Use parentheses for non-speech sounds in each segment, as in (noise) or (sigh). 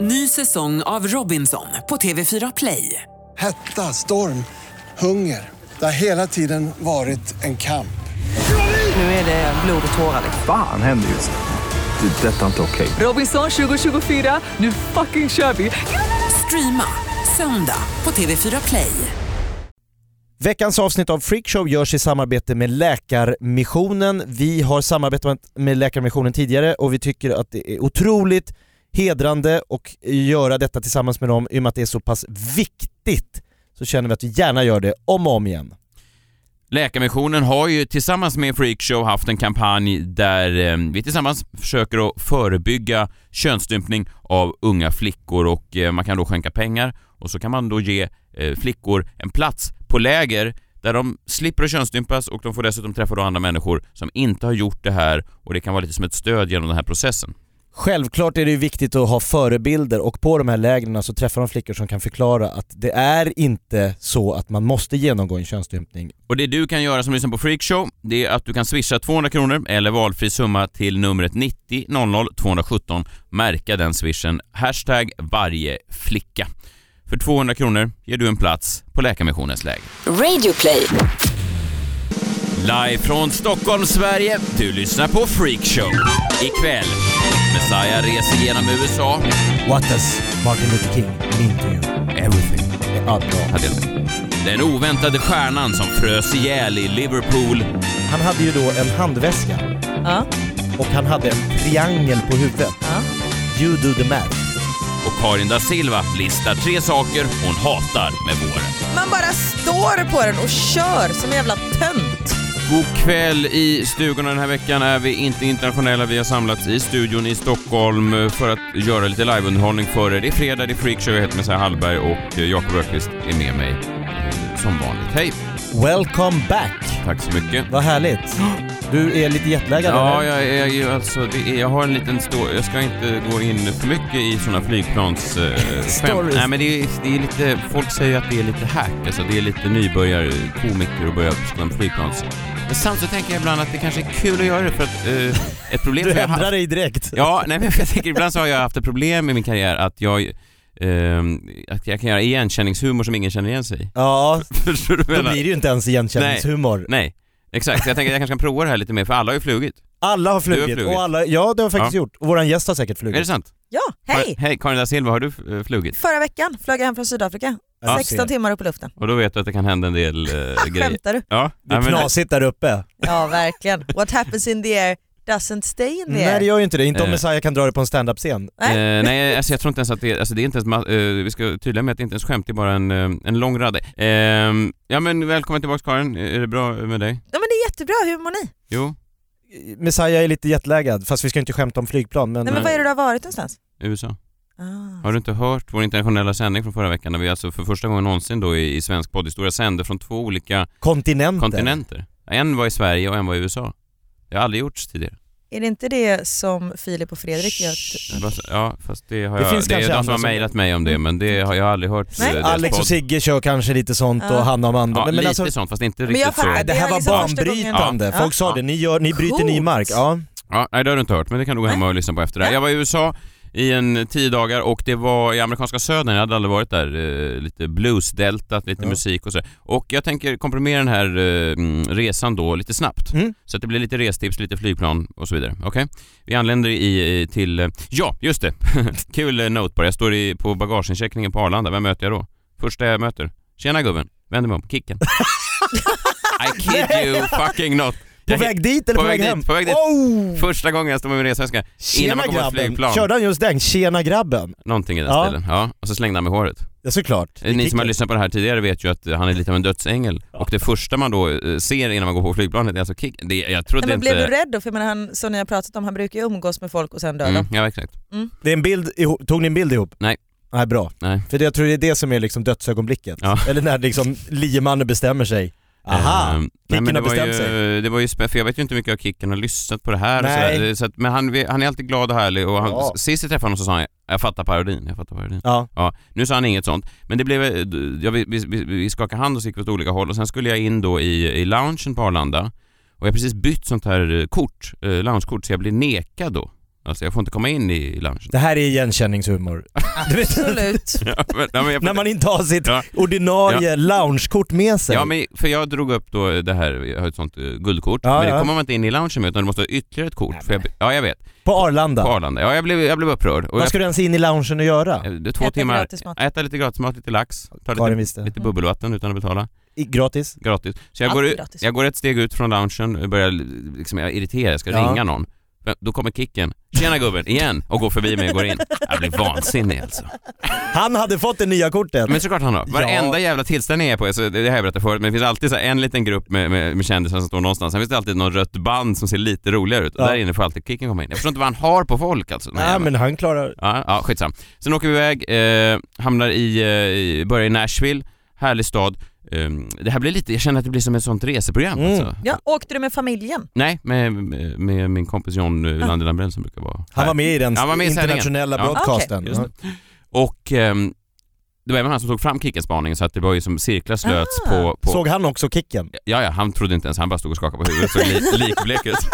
Ny säsong av Robinson på TV4 Play. Hetta, storm, hunger. Det har hela tiden varit en kamp. Nu är det blod och tårar. Fan händer just nu. Det. är Detta är inte okej. Robinson 2024, nu fucking kör vi! Streama söndag på TV4 Play. Veckans avsnitt av Freakshow görs i samarbete med Läkarmissionen. Vi har samarbetat med Läkarmissionen tidigare och vi tycker att det är otroligt hedrande och göra detta tillsammans med dem i och med att det är så pass viktigt så känner vi att vi gärna gör det om och om igen. Läkarmissionen har ju tillsammans med Freakshow haft en kampanj där eh, vi tillsammans försöker att förebygga könsstympning av unga flickor och eh, man kan då skänka pengar och så kan man då ge eh, flickor en plats på läger där de slipper att könsstympas och de får dessutom träffa då andra människor som inte har gjort det här och det kan vara lite som ett stöd genom den här processen. Självklart är det ju viktigt att ha förebilder och på de här lägren så träffar de flickor som kan förklara att det är inte så att man måste genomgå en könsstympning. Och det du kan göra som lyssnar på Freakshow, det är att du kan swisha 200 kronor eller valfri summa till numret 90 00 217. Märka den swishen. Hashtag varje flicka. För 200 kronor ger du en plats på Läkarmissionens läger. Radioplay. Live från Stockholm, Sverige. Du lyssnar på Freakshow. Ikväll. Messiah reser genom USA. What does Martin Luther King mean to you? Everything. Ja, bra. Hade jag. Den oväntade stjärnan som frös ihjäl i Liverpool. Han hade ju då en handväska Ja. och han hade en triangel på huvudet. Ja. You do the math. Och Karin da Silva listar tre saker hon hatar med våren. Man bara står på den och kör som en jävla tönt. God kväll i stugorna den här veckan är vi inte internationella. Vi har samlats i studion i Stockholm för att göra lite liveunderhållning för er. Det är fredag, det är freakshow. Jag heter Messiah Hallberg och Jakob Öqvist är med mig eh, som vanligt. Hej! Welcome back! Tack så mycket. Vad härligt. Du är lite jetlaggad Ja, eller? jag är ju alltså, det är, jag har en liten stor, jag ska inte gå in för mycket i sådana (laughs) flygplans... Eh, skämt. Stories. Nej men det är, det är lite, folk säger att det är lite hack, alltså det är lite nybörjarkomiker att börja på en flygplans... Men samtidigt tänker jag ibland att det kanske är kul att göra det för att eh, ett (laughs) problem Du som jag har ändrar dig direkt. Ja, nej men jag tänker ibland så har jag haft ett problem i min karriär att jag, ehm, att jag kan göra igenkänningshumor som ingen känner igen sig i. Ja, Förstår du (laughs) vad då blir det jag menar? ju inte ens igenkänningshumor. Nej, exakt. Så jag tänker att jag kanske kan prova det här lite mer för alla har ju flugit. Alla har flugit, Du har flugit. och alla, ja det har jag faktiskt Ja. gjort. Och våran gäst har säkert flugit. Är det sant? Ja, hej! Har, hej, Karin da Silva, har du eh, flugit? Förra veckan flög jag hem från Sydafrika. Ah, Ja, 16 ser. timmar upp i luften. Och då vet du att det kan hända en del eh, grejer. Skämtar du? Ja, Det är nej, men- knasigt där uppe. Ja, verkligen. What happens in the air doesn't stay in the Nej det air. gör ju inte det, inte om Eh. Messiah kan dra det på en standup-scen. Eh, nej, alltså jag tror inte ens att det, alltså det är inte ens, ma- eh, vi ska vara tydliga med att det inte ens skämt, det är bara en, eh, en lång radda. Ehm, ja men välkommen tillbaka Karin, är det bra med dig? Ja, men det är jättebra, hur mår ni? Jo, Messiah är lite jetlaggad, fast vi ska inte skämta om flygplan men... Nej, men var är det du har varit någonstans? USA. Ah. Har du inte hört vår internationella sändning från förra veckan när vi alltså för första gången någonsin då i, i svensk poddhistoria sände från två olika Kontinenter. kontinenter? En var i Sverige och en var i USA. Det har aldrig gjorts tidigare. Är det inte det som Filip och Fredrik gör? Ja, fast det har Det jag... finns det är kanske de som andra har som- mejlat mig om det, men det har jag aldrig hört. Nej. eh, deras Alex och podd. Sigge kör kanske lite sånt Ja. och Hanna och Amanda. Ja, men lite alltså, sånt, fast inte Men jag riktigt så. fattar. det här är var liksom första banbrytande. gången. Folk Ja. sa det, ni, gör, ni bryter ny Coolt. mark. Ja. Mm. Ja, nej, det har du inte hört, men det kan du gå hem och lyssna på efter det här. Ja. Jag var i USA i en tio dagar och det var i amerikanska södern, jag hade aldrig varit där. Eh, lite bluesdeltat, lite Ja. musik och så. Och jag tänker komprimera den här eh, mm, resan då lite snabbt. Mm. Så att det blir lite restips, lite flygplan och så vidare. Okej? Vi anländer i, i, till... eh, Ja, just det! (laughs) Kul eh, note bara. Jag står i, på bagageincheckningen på Arlanda. Vem möter jag då? Första jag möter. Tjena gubben. Vänder mig om. Kicken. (laughs) I kid you fucking not. På Jag- väg dit eller på, på väg dit, hem? på väg dit. Oh! Första gången jag står med min resväska. Innan Tjena man kommer på grabben! flygplan. Körde han just den? Tjena grabben? Någonting i den Ja. stilen. Ja. Och så slängde han med håret. Ja såklart. Ni som har lyssnat på det här tidigare vet ju att han är lite av en dödsängel. Och det första man då eh, ser innan man går på flygplanet är alltså kick. Det, jag trodde Nej, men inte... blev du rädd då? För jag menar, han, som ni har pratat om, han brukar ju umgås med folk och sen dör Mm, de. ja, exakt. Det är en bild ihop, tog ni en bild ihop? Nej. Nej bra. Nej. För det, jag tror det är det som är liksom dödsögonblicket. Ja. Eller när liksom liemannen bestämmer sig. Aha! Ehm, nej, men Kicken det har var ju, bestämt Det var ju spä, för jag vet ju inte hur mycket av Kicken har lyssnat på det här. Och Nej. sådär. så att, men han, han är alltid glad och härlig och han, Ja. sist jag träffade honom så sa han jag fattar parodin, jag fattar parodin. Ja. Ja, nu sa han inget sånt. Men det blev, eh, d- ja, vi, vi, vi- vi skakade hand och så gick vi åt olika håll och sen skulle jag in då i, i loungen på Arlanda och jag har precis bytt sånt här eh, kort, eh, loungekort, så jag blir nekad då. Alltså jag får inte komma in i loungen. (laughs) Det här är igenkänningshumor. du vet, (laughs) Absolut. Ja, men, ja, men jag, när man inte har sitt Ja. ordinarie loungekort med sig. ja, men för jag drog upp då det här, jag har ett sånt eh, guldkort, Ja, men det ja. kommer man inte in i loungen med utan du måste ha ytterligare ett kort. För jag, ja, jag vet. På På Arlanda. Arlanda. Ja, jag blev, jag blev upprörd. Och Vad jag, ska du ens in i loungen och göra? eh, det är två Äta timmar, gratismat. äta lite gratismat, lite lax, ta Karin lite, visste. lite bubbelvatten utan att betala. I- Gratis. gratis. Så jag Allt går, är ut- gratis. jag går ett steg ut från loungen och börjar liksom, jag irriterar, jag ska Ja. ringa någon. Men då kommer kicken. Tjena gubben, igen! Och går förbi mig och går in. Jag blir vansinnig alltså. Han hade fått det nya kortet. Men såklart han har. Varenda jävla tillställning jag är på, alltså, det det har jag berättat förut, men det finns alltid så här en liten grupp med, med, med kändisar som står någonstans. Sen finns det alltid någon rött band som ser lite roligare ut. Och Ja. Där inne får alltid kicken komma in. Jag förstår inte vad han har på folk alltså. den här Nej jäveln. men han klarar... Ja, ja, skitsam. Sen åker vi iväg, eh, hamnar i, eh, i, börjar i Nashville, härlig stad. Ehm, det här blir lite, jag känner att det blir som ett sånt reseprogram Mm. alltså. Ja, (laughs) åkte du med familjen? Nej, med, med, med min kompis John eh, Wilander Lambrell som brukar vara Han var med i den Han var med i sändningen. internationella Ja. broadcasten. Just Och ehm, det var även han som tog fram Kickens spaning så att det var ju som cirklar slöts Ah. på... på Såg han också kicken? Ja, ja, han trodde inte ens, han bara stod och skakade på huvudet, såg li, likblek ut. (laughs)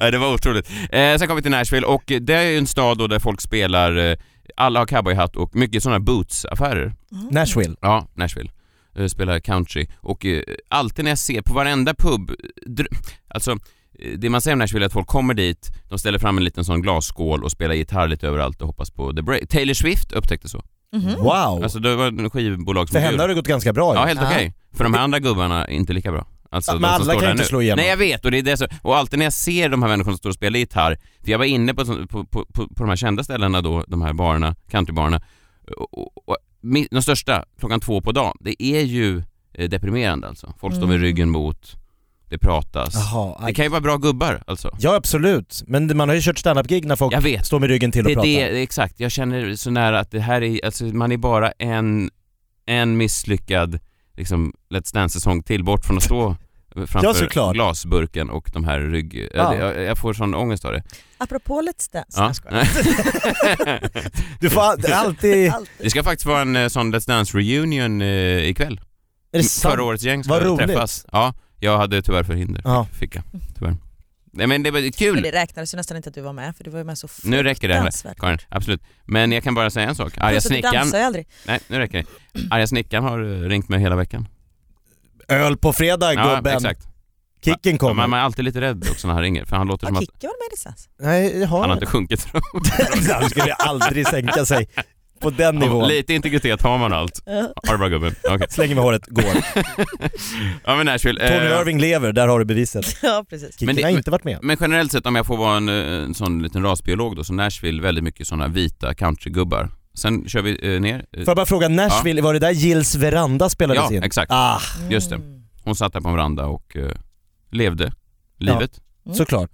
Nej, det var otroligt. Eh, sen kom vi till Nashville och det är ju en stad då där folk spelar, eh, alla har cowboyhatt och mycket sådana bootsaffärer. Nashville. Ja, Nashville. Eh, Spelar country. Och eh, alltid när jag ser på varenda pub, dr- alltså eh, det man säger om Nashville är att folk kommer dit, de ställer fram en liten sån glasskål och spelar gitarr lite överallt och hoppas på the break. Taylor Swift upptäckte så. Mhm. Wow! Alltså det var en skivbolag som För henne har bjöd. det gått ganska bra ju. Ja, helt Ja. okej. För de här andra gubbarna är inte lika bra. Alltså, Ja, de men som alla står kan där inte nu. slå igenom. Nej jag vet och det är det som, och alltid när jag ser de här människorna som står och spelar gitarr, för jag var inne på, sån- på, på, på, på de här kända ställena då, de här barerna, countrybarerna, och, och, och min, de största, klockan två på dagen, det är ju eh, deprimerande alltså. Folk står med Mm. ryggen mot, det pratas. Jaha, Det aj. kan ju vara bra gubbar alltså. Ja absolut, men man har ju kört standup-gig när folk Jag vet. står med ryggen till och Det är pratar. det, det är exakt. Jag känner så nära att det här är, alltså man är bara en, en misslyckad liksom Let's Dance-säsong till bort från (laughs) att stå framför såklart. glasburken och de här rygg... Ja. Ja. Jag, jag får sån ångest av det. Apropå Let's Dance. Ja. Jag skojar. (laughs) Du får all- alltid... är det ska faktiskt vara en eh, sån Let's Dance-reunion eh, ikväll. det Förra sant? årets gäng ska Vad roligt. träffas. Ja, jag hade tyvärr förhinder. Ja. Fick jag, tyvärr. Nej men det var Men kul. det räknades ju nästan inte att du var med för du var ju med så fruktansvärt. Nu räcker det här, Karin. Absolut. Men jag kan bara säga en sak. Arga Plus att du snickaren... dansar ju aldrig. Nej, nu räcker det. Arga snickaren har eh, ringt mig hela veckan. Öl på fredag Ja, Äh, gubben, exakt. kicken Ja, kommer. Man, man är alltid lite rädd också när han ringer för han låter som Har att Kikki varit med i Let's Dance? (laughs) Nej, jaha. han har inte sjunkit. (laughs) Han skulle ju aldrig sänka sig på den nivån. Lite integritet har man allt. Ha det bra gubben. Okej. Slänger med håret, går. Ja men Nashville. Tony eh, Irving lever, där har du beviset. Ja precis. Kicken Men det- Mm. har inte varit med. Men generellt sett om jag får vara en, eh, en sån liten rasbiolog då så Nashville väldigt mycket såna vita countrygubbar. Sen kör vi eh, ner. eh, Får jag bara fråga, Nashville, var det där Jills veranda spelades Ja in? exakt. Ah, Just det. Mm. Hon satt där på en veranda och eh, levde livet. Mm. såklart.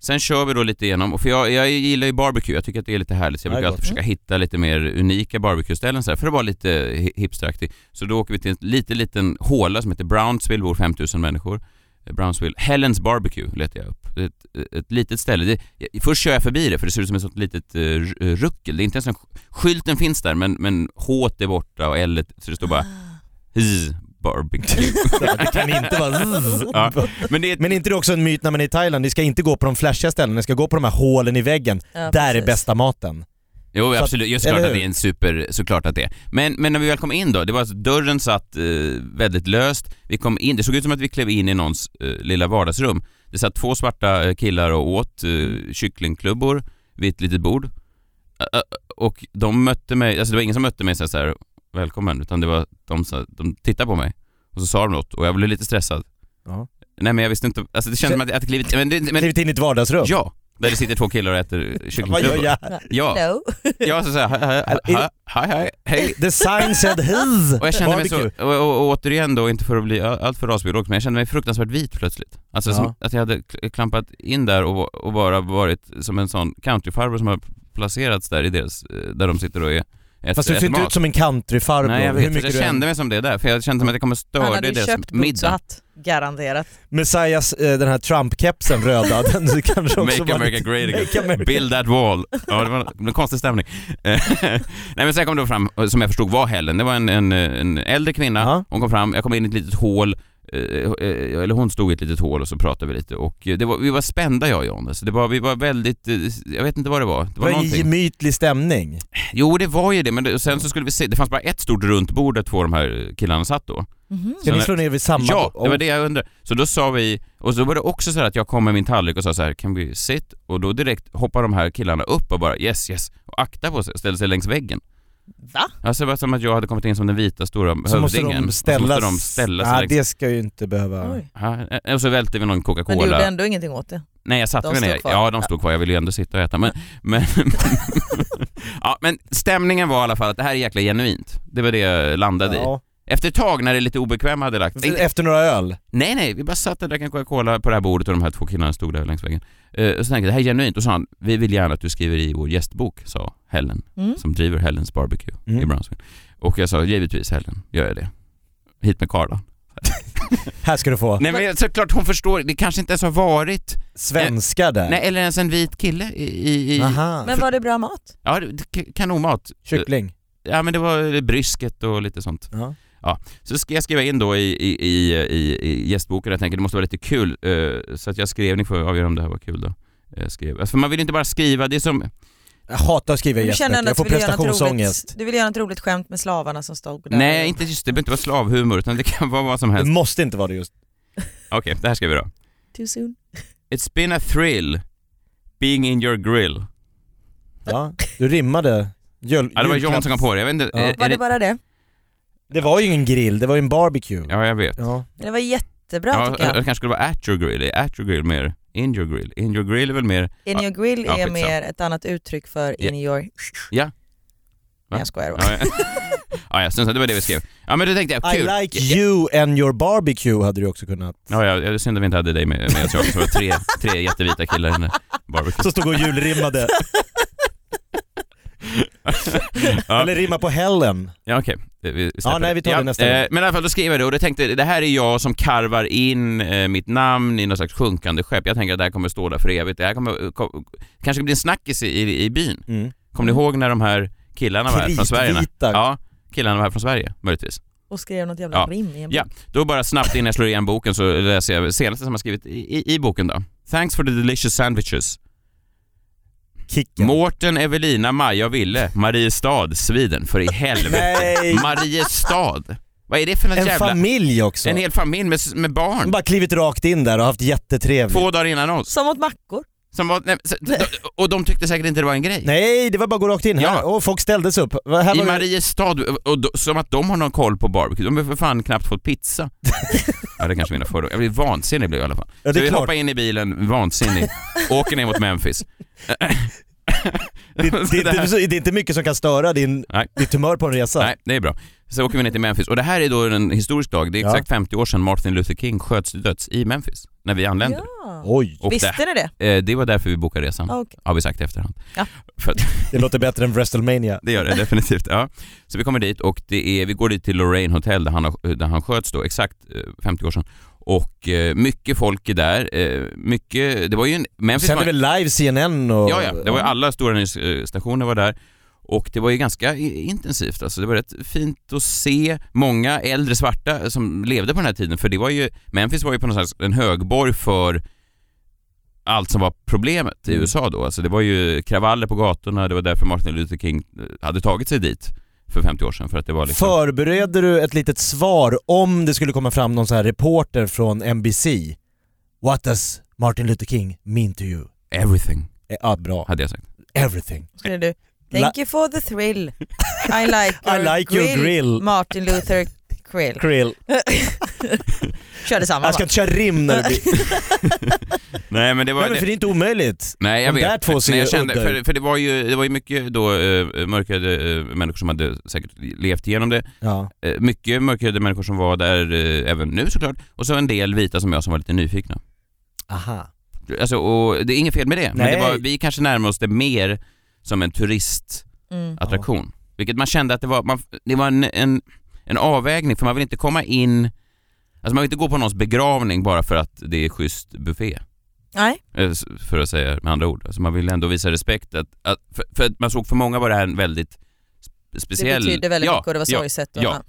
Sen kör vi då lite igenom, och för jag, jag gillar ju barbecue, jag tycker att det är lite härligt så jag Ja, brukar det är alltid försöka hitta lite mer unika barbecue-ställen så här, för att vara lite hi- hipsteraktig. Så då åker vi till en liten, liten håla som heter Brownsville, bor 5000 människor. Eh, Brownsville, Helens Barbecue letar jag upp. Det är Ett, ett litet ställe. Det, jag, först kör jag förbi det för det ser ut som ett sånt litet eh, r- eh, ruckel. Det är inte ens en, sk- skylten finns där men, men H är borta och L så det står bara "Hz, barbecue. Det kan inte (laughs) Ja. vara... Men det är ett Men är inte det också en myt när man är i Thailand? Ni ska inte gå på de flashiga ställena, ni ska gå på de här hålen i väggen. Ja, Där är precis. bästa maten. Jo Så att- absolut, just eller klart att hur? det är en super, såklart att det är. Men, men när vi väl kom in då, det var alltså, dörren satt eh, väldigt löst, vi kom in, det såg ut som att vi klev in i någons eh, lilla vardagsrum. Det satt två svarta eh, killar och åt eh, kycklingklubbor vid ett litet bord. Ä- ä- och de mötte mig, alltså det var ingen som mötte mig så här, så här välkommen, utan det var de, sa- de tittade på mig och så sa de något och jag blev lite stressad. Ja. Nej men jag visste inte, alltså det kändes som att jag hade klivit, men, det, men Klivit in i ett vardagsrum. ja, där det sitter två killar och äter Vad gör kycklingklubbor. jag? Ja. Hello. Ja, så såhär, hej, hej, hej, hej, hej. The sign said (laughs) his. Och jag kände mig så, Barbecue. och, och, och återigen då, inte för att bli all- alltför rasbiolog, men jag kände mig fruktansvärt vit plötsligt. Alltså Ja. som att jag hade kl- klampat in där och, och bara varit som en sån countryfarbror som har placerats där i deras, eh, där de sitter och är äter, Fast du ser äter inte mat. ut som en countryfarbror. Nej jag Hur vet, mycket fast jag du än- kände mig som det där, för jag kände som att jag kommer Han störa hade i ju köpt deras middag. bootsatt, garanterat. Messias, eh, den här Trump-kepsen röda, (laughs) den du kanske också Make var lite- America great again. Make America- Build that wall. Ja, det var en konstig stämning. (laughs) Eh, Nej men sen kom eh, det fram, som jag förstod var Helen, det var eh, en, en, en äldre kvinna, Ja. hon kom fram, jag kom in i ett litet hål, eh, eh, eller hon stod i ett litet hål och så pratade vi lite och eh, det var, vi var spända jag och John. Alltså, det var, vi var väldigt, eh, jag vet inte vad det var. Det Det var var en någonting. gemytlig stämning. Jo det var ju det men det, och sen så skulle vi se, det fanns bara ett stort runt bord där två av de här killarna satt då. Ska Så ni när- slå ner vid samma? Ja, det var Oh. det jag undrade. Så då sa vi, och så var det också så här att jag kom med min tallrik och sa så här, kan vi sit? Och då direkt hoppar de här killarna upp och bara yes yes och akta på sig, ställer sig längs väggen. Va? Alltså det var som att jag hade kommit in som den vita stora Så hövdingen. måste Och de så ställa, måste de ställa sig Ja, längs det ska ju inte behöva... Oj. Ja, eh, och så välte vi någon Men du gjorde Coca-Cola. ändå ingenting åt det? Nej jag satte de mig stod ner. kvar. Ja de stod kvar, jag ville ju ändå sitta och äta. Men, (laughs) men, (laughs) ja, men stämningen var i alla fall att det här är jäkla genuint. Det var det jag landade i. Ja. Efter ett tag när det lite obekväma hade lagt inte, Efter några öl. Nej nej, vi bara satt och drack en Coca-Cola på det här bordet och de här två killarna stod där längs väggen. Eh, och så tänkte jag, det här är genuint. Och sa han, vi vill gärna att du skriver i vår gästbok, sa Helen, Mm. som driver Helens Barbecue Mm. i Brownsville. Och jag sa, givetvis Helen, gör jag det. Hit med Karla. Här ska du få Nej men såklart hon förstår, det kanske inte ens har varit svenska där. Nej, eller ens en vit kille i... i, i Aha. Men var det bra mat? ja, det- k- kanonmat. Kyckling. Ja, men det var brysket och lite sånt. Ja. Så ska jag skriva in då i, i, i, i, i gästboken, jag tänker det måste vara lite kul. eh, Så att jag skrev, ni får avgöra om det här var kul då. Eh, Skrev. Alltså, för man vill inte bara skriva, det är som... Jag hatar att skriva Du gästböcker, känner jag ändå att får du vill, göra något roligt, prestationsångest. du vill göra något roligt skämt med slavarna som stod där? Nej, inte just det, behöver inte vara slavhumor utan det kan (laughs) vara vad som Det helst. måste inte vara det just. Okej, det här skriver vi då. Too soon. It's been a thrill being in your grill. Ja. Du rimmade. Jul- Ja, det var John julklapps- som kom på det, jag vet inte. Ja. eh, Var är det det... bara det? Det var ju ingen grill, det var ju en barbecue. Ja, jag vet. Ja. Det var jättebra Ja, det tycker jag. kanske skulle vara at your grill, är at your grill mer in your grill? In your grill är väl mer In your grill Ja, är skitsamma. mer ett annat uttryck för in your... Ja. (laughs) Nej jag skojar bara. Ja, (laughs) ja. ja, ja, syns att det var det vi skrev. Ja men då tänkte jag, I kul. like you and your barbecue hade du också kunnat. Ja, ja, det är synd att vi inte hade dig med, med oss Jakob, som var tre, tre jättevita killar i den där barbecue. Som stod och julrimmade. Ja. Eller rimma på Helen. Ja okej, vi släpper Ja, nej, det. vi tar det nästa eh, gång. Men i alla fall, då skrev jag det och då tänkte jag, det här är jag som karvar in eh, mitt namn i något slags sjunkande skepp. Jag tänker att det här kommer stå där för evigt. Det här kommer, eh, kom, kanske blir en snackis i, i, i byn. Mm. Kommer ni ihåg när de här killarna var här från Sverige? Kritvita. Ja, killarna var här från Sverige, möjligtvis. Och skrev något jävla Ja. rim i en Ja, då bara snabbt innan jag slår igen boken så läser jag senaste som har skrivit i, i, i boken då. Thanks for the delicious sandwiches. Kicken. Mårten, Evelina, Maja och Ville, Mariestad, Sweden, för i helvete. Nej. Mariestad. Vad är det för något En (laughs) jävla... familj också. En hel familj med, med De barn. bara klivit rakt in där och haft jättetrevligt. Två dagar innan oss. Som åt mackor. Som var, nej, så, d- och de tyckte säkert inte det var en grej. Nej, det var bara att gå rakt in. Ja. Här. Och folk ställdes upp. Va- Här I var det... Mariestad, och då, som att de har någon koll på barbecue. De har för fan knappt (laughs) fått pizza. ja, det kanske är mina fördomar. Jag blir vansinnig blev jag i alla fall. Ja, det så är vi klart. hoppar in i (laughs) bilen, vansinnig, åker ner mot Memphis. (laughs) Det, det, det, det, är inte mycket som kan störa din, Nej. ditt humör på en resa. Nej, det är bra. Så åker vi ner till Memphis och det här är då en historisk dag. Det är Ja. exakt 50 år sedan Martin Luther King sköts till döds i Memphis när vi anlände. Ja. Oj, Och Visste ni det? det, eh, det var därför vi bokade resan, Ah, okej. har vi sagt i efterhand. Ja. För att, det låter bättre än WrestleMania. det gör det definitivt. Ja. Så vi kommer dit och det är, vi går dit till Lorraine Hotel där han, har- där han sköts då, exakt eh, 50 år sedan. Och eh, mycket folk är där. Eh, mycket, det var ju en... Memphis Sände var- väl live CNN och... Ja, ja. Det var ju alla stora nyhetsstationer var där. Och det var ju ganska i- intensivt alltså. Det var rätt fint att se många äldre svarta som levde på den här tiden. För det var ju, Memphis var ju på något sätt en högborg för allt som var problemet i Mm. USA då. Alltså det var ju kravaller på gatorna, det var därför Martin Luther King eh, hade tagit sig dit för 50 år sedan. För att det var liksom... Förbereder du ett litet svar om det skulle komma fram någon så här reporter från NBC? What does Martin Luther King mean to you? Everything, Eh, Ja, bra. hade jag sagt. Everything. Skrev du La- Thank you for the thrill. I like (laughs) your, I like grill. your grill. Martin Luther Grill. Krill. Körde samma Jag ska va? inte köra rim när det (laughs) blir... Nej men det Nej men för det är inte omöjligt. Nej jag De vet. där två ser Nej, ju jag kände, udda för, ut. för det var ju, det var ju mycket då eh, mörkade eh, människor som hade säkert levt igenom det. Ja. Eh, mycket mörkhyade människor som var där eh, även nu såklart och så en del vita som jag som var lite nyfikna. Aha. Alltså, och det är inget fel med det, men Nej. det var, vi kanske närmar oss det mer som en turistattraktion. Mm. Vilket man kände att det var, man, det var en, en, en avvägning för man vill inte komma in, alltså man vill inte gå på någons begravning bara för att det är schysst buffé. Nej, Eh, s- För att säga med andra ord. Alltså man vill ändå visa respekt att, att för, för att man såg för många var det här en väldigt sp- det speciell... betydde väldigt ja, mycket och det var ja, sorgset. och- ja.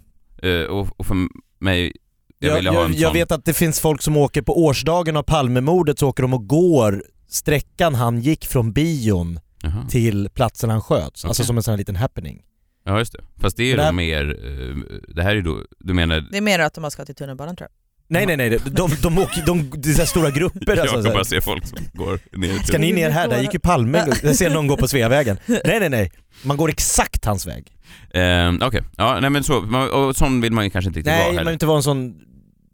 Eh, och, och för mig Jag Jag, ville ha jag, en jag sån. vet att det finns folk som åker på årsdagen av Palmemordet så åker de och går sträckan han gick från bion Jaha. till platsen han sköts. Alltså Okej. som en sån här liten happening. Ja just det. Fast det är ju Men då det här- mer, eh, det här är då, (laughs) du menar, Det är mer att de har ska till tunnelbanan tror jag. Nej nej nej, de, de, de åker, de, det är så här stora grupper jag alltså. så kan här. bara se folk som går ner Ska ni ner här? Där gick ju Palme. Jag ser någon gå på Sveavägen. Nej nej nej, man går exakt hans väg. Ehm, Okej, ja nej men så, man- och sån vill man ju kanske inte riktigt Nej, vara man heller. vill inte vara en sån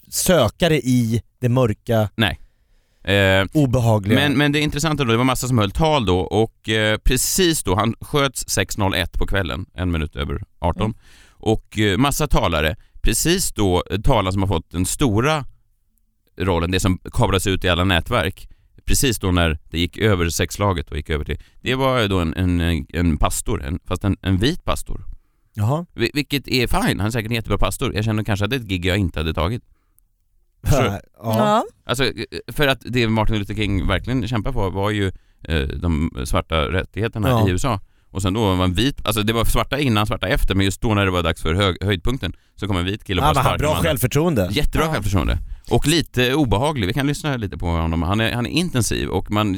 sökare i det mörka, Ehm, obehagliga. Men, men det intressanta då, det var massa som höll tal då och eh, precis då, han sköts 6.01 på kvällen, en minut över 18. Mm. Och eh, massa talare, precis då eh, talaren som har fått den stora rollen, det som kablas ut i alla nätverk, precis då när det gick över sexlaget och gick över till, det var ju då en, en, en pastor, en, fast en, en vit pastor. Jaha. Vi- Vilket är fine, han är säkert en jättebra pastor. Jag känner kanske att det är ett gig jag inte hade tagit. Så- Ja. Alltså, eh, för att det Martin Luther King verkligen kämpade för var ju eh, de svarta rättigheterna Ja. i USA. Och sen då var en vit, alltså det var svarta innan, svarta efter, men just då när det var dags för hög, höjdpunkten så kom en vit kille och Han bara har sparkade bra de andra. självförtroende. Jättebra Ja. självförtroende. Och lite obehaglig, vi kan lyssna lite på honom. Han är, han är intensiv och man,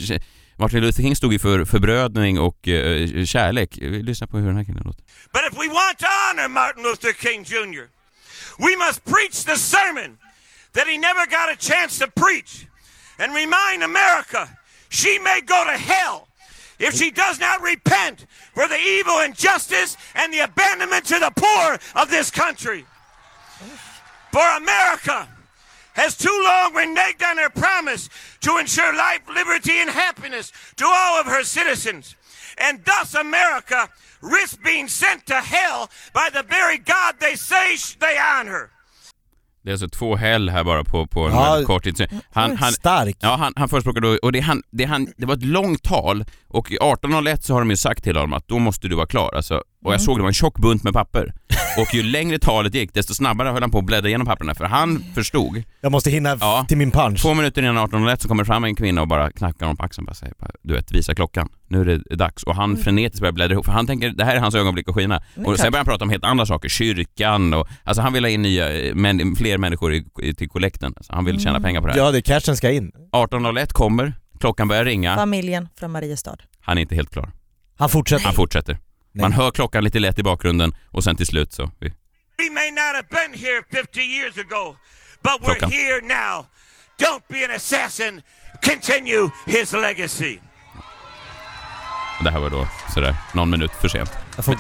Martin Luther King stod ju för förbrödning och eh, kärlek. Vi lyssnar på hur den här killen låter. But if we want to honor Martin Luther King Jr., we must preach the sermon that he never got a chance to preach and remind America she may go to hell if she does not repent for the evil injustice and the abandonment to the poor of this country. For America has too long reneged on her promise to ensure life, liberty, and happiness to all of her citizens. And thus America risks being sent to hell by the very God they say sh- they honor. Det är alltså två häll här bara på, på en Ja. väldigt kort tid. Han, han, Stark. Ja, han, han förespråkar då, och det, är han, det, är han, det var ett långt tal och i 18.01 så har de ju sagt till honom att då måste du vara klar. Alltså, och jag såg det var en tjock bunt med papper. Och ju längre talet gick desto snabbare höll han på att bläddra igenom papperna för han förstod. Jag måste hinna f- Ja. till min punch. Två minuter innan 18.01 så kommer fram en kvinna och bara knackar honom på axeln bara säger bara, du vet, visa klockan. Nu är det dags. Och han frenetiskt börjar bläddra ihop för han tänker det här är hans ögonblick att skina. Och sen börjar han prata om helt andra saker, kyrkan och alltså han vill ha in nya, eh, men, fler människor i, i, till kollekten. Alltså, han vill tjäna pengar på det här. Ja, det cashen ska in. 18.01 kommer, klockan börjar ringa. Familjen från Mariestad. Han är inte helt klar. Han fortsätter. Han fortsätter. Nej. Man hör klockan lite lätt i bakgrunden och sen till slut så... We may not have been here 50 years ago, but we're Welcome. here now. Don't be an assassin. Continue his legacy. Det här var då sådär någon minut för sent. Jag får...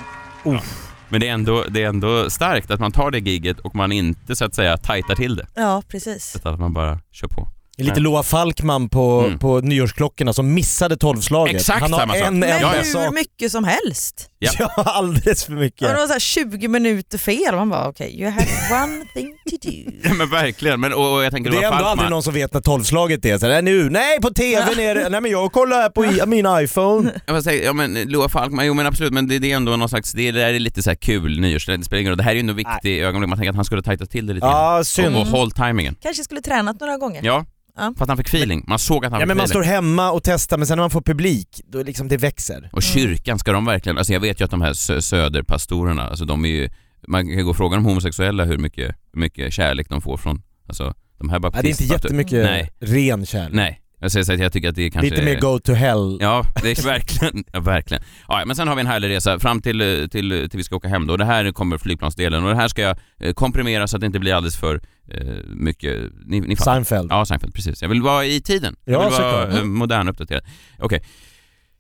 Men det är, ändå, det är ändå starkt att man tar det giget och man inte så att säga tajtar till det. Ja, precis. Utan att man bara kör på. Det är Lite Loa Falkman på, Mm. på nyårsklockorna som missade tolvslaget. Exakt han har samma sak. en Men ja, enda ja. hur sak. mycket som helst. Ja. Ja, alldeles för Ja. mycket. Det var så här 20 minuter fel. Man bara okej, you have one thing to (laughs) do. Ja men verkligen. Men, och, och jag tänker Det är Loa ändå aldrig Falkman. någon som vet när tolvslaget är. Så här, nu, nej på tvn är det, nej men jag kollar här på i, min (laughs) iPhone. Jag bara säger, ja men Loa Falkman, jo men absolut men det, det är ändå någon slags, det, det där är lite så här kul nyårs... Det spelar ingen roll. Det här är ju ändå viktigt ögonblick. Man tänker att han skulle tajta till det lite grann. Ja, synd. Och, och håll timingen. Kanske skulle tränat några gånger. Ja. Ja. För att han fick feeling. Man såg att han Ja fick men man feeling. står hemma och testar men sen när man får publik, då är liksom det växer. Och kyrkan, ska de verkligen... Alltså jag vet ju att de här sö- söderpastorerna, alltså de är ju... Man kan ju gå och fråga de homosexuella hur mycket, hur mycket kärlek de får från... Alltså de här Ja, det är inte baptistpastorerna. jättemycket Nej. ren kärlek. Nej, jag säger så att jag tycker att det är kanske... Lite mer go to hell. Ja, det är verkligen. Ja, verkligen. Ja, ja, men sen har vi en härlig resa fram till, eh, till, eh, till vi ska åka hem då. Det här kommer flygplansdelen och det här ska jag eh, komprimera så att det inte blir alldeles för eh, mycket... Ni, ni fattar. Seinfeld. Ja, Seinfeld, precis. Jag vill vara i tiden. Jag Ja, vill vara såklart. eh, modern och uppdaterad. Okej.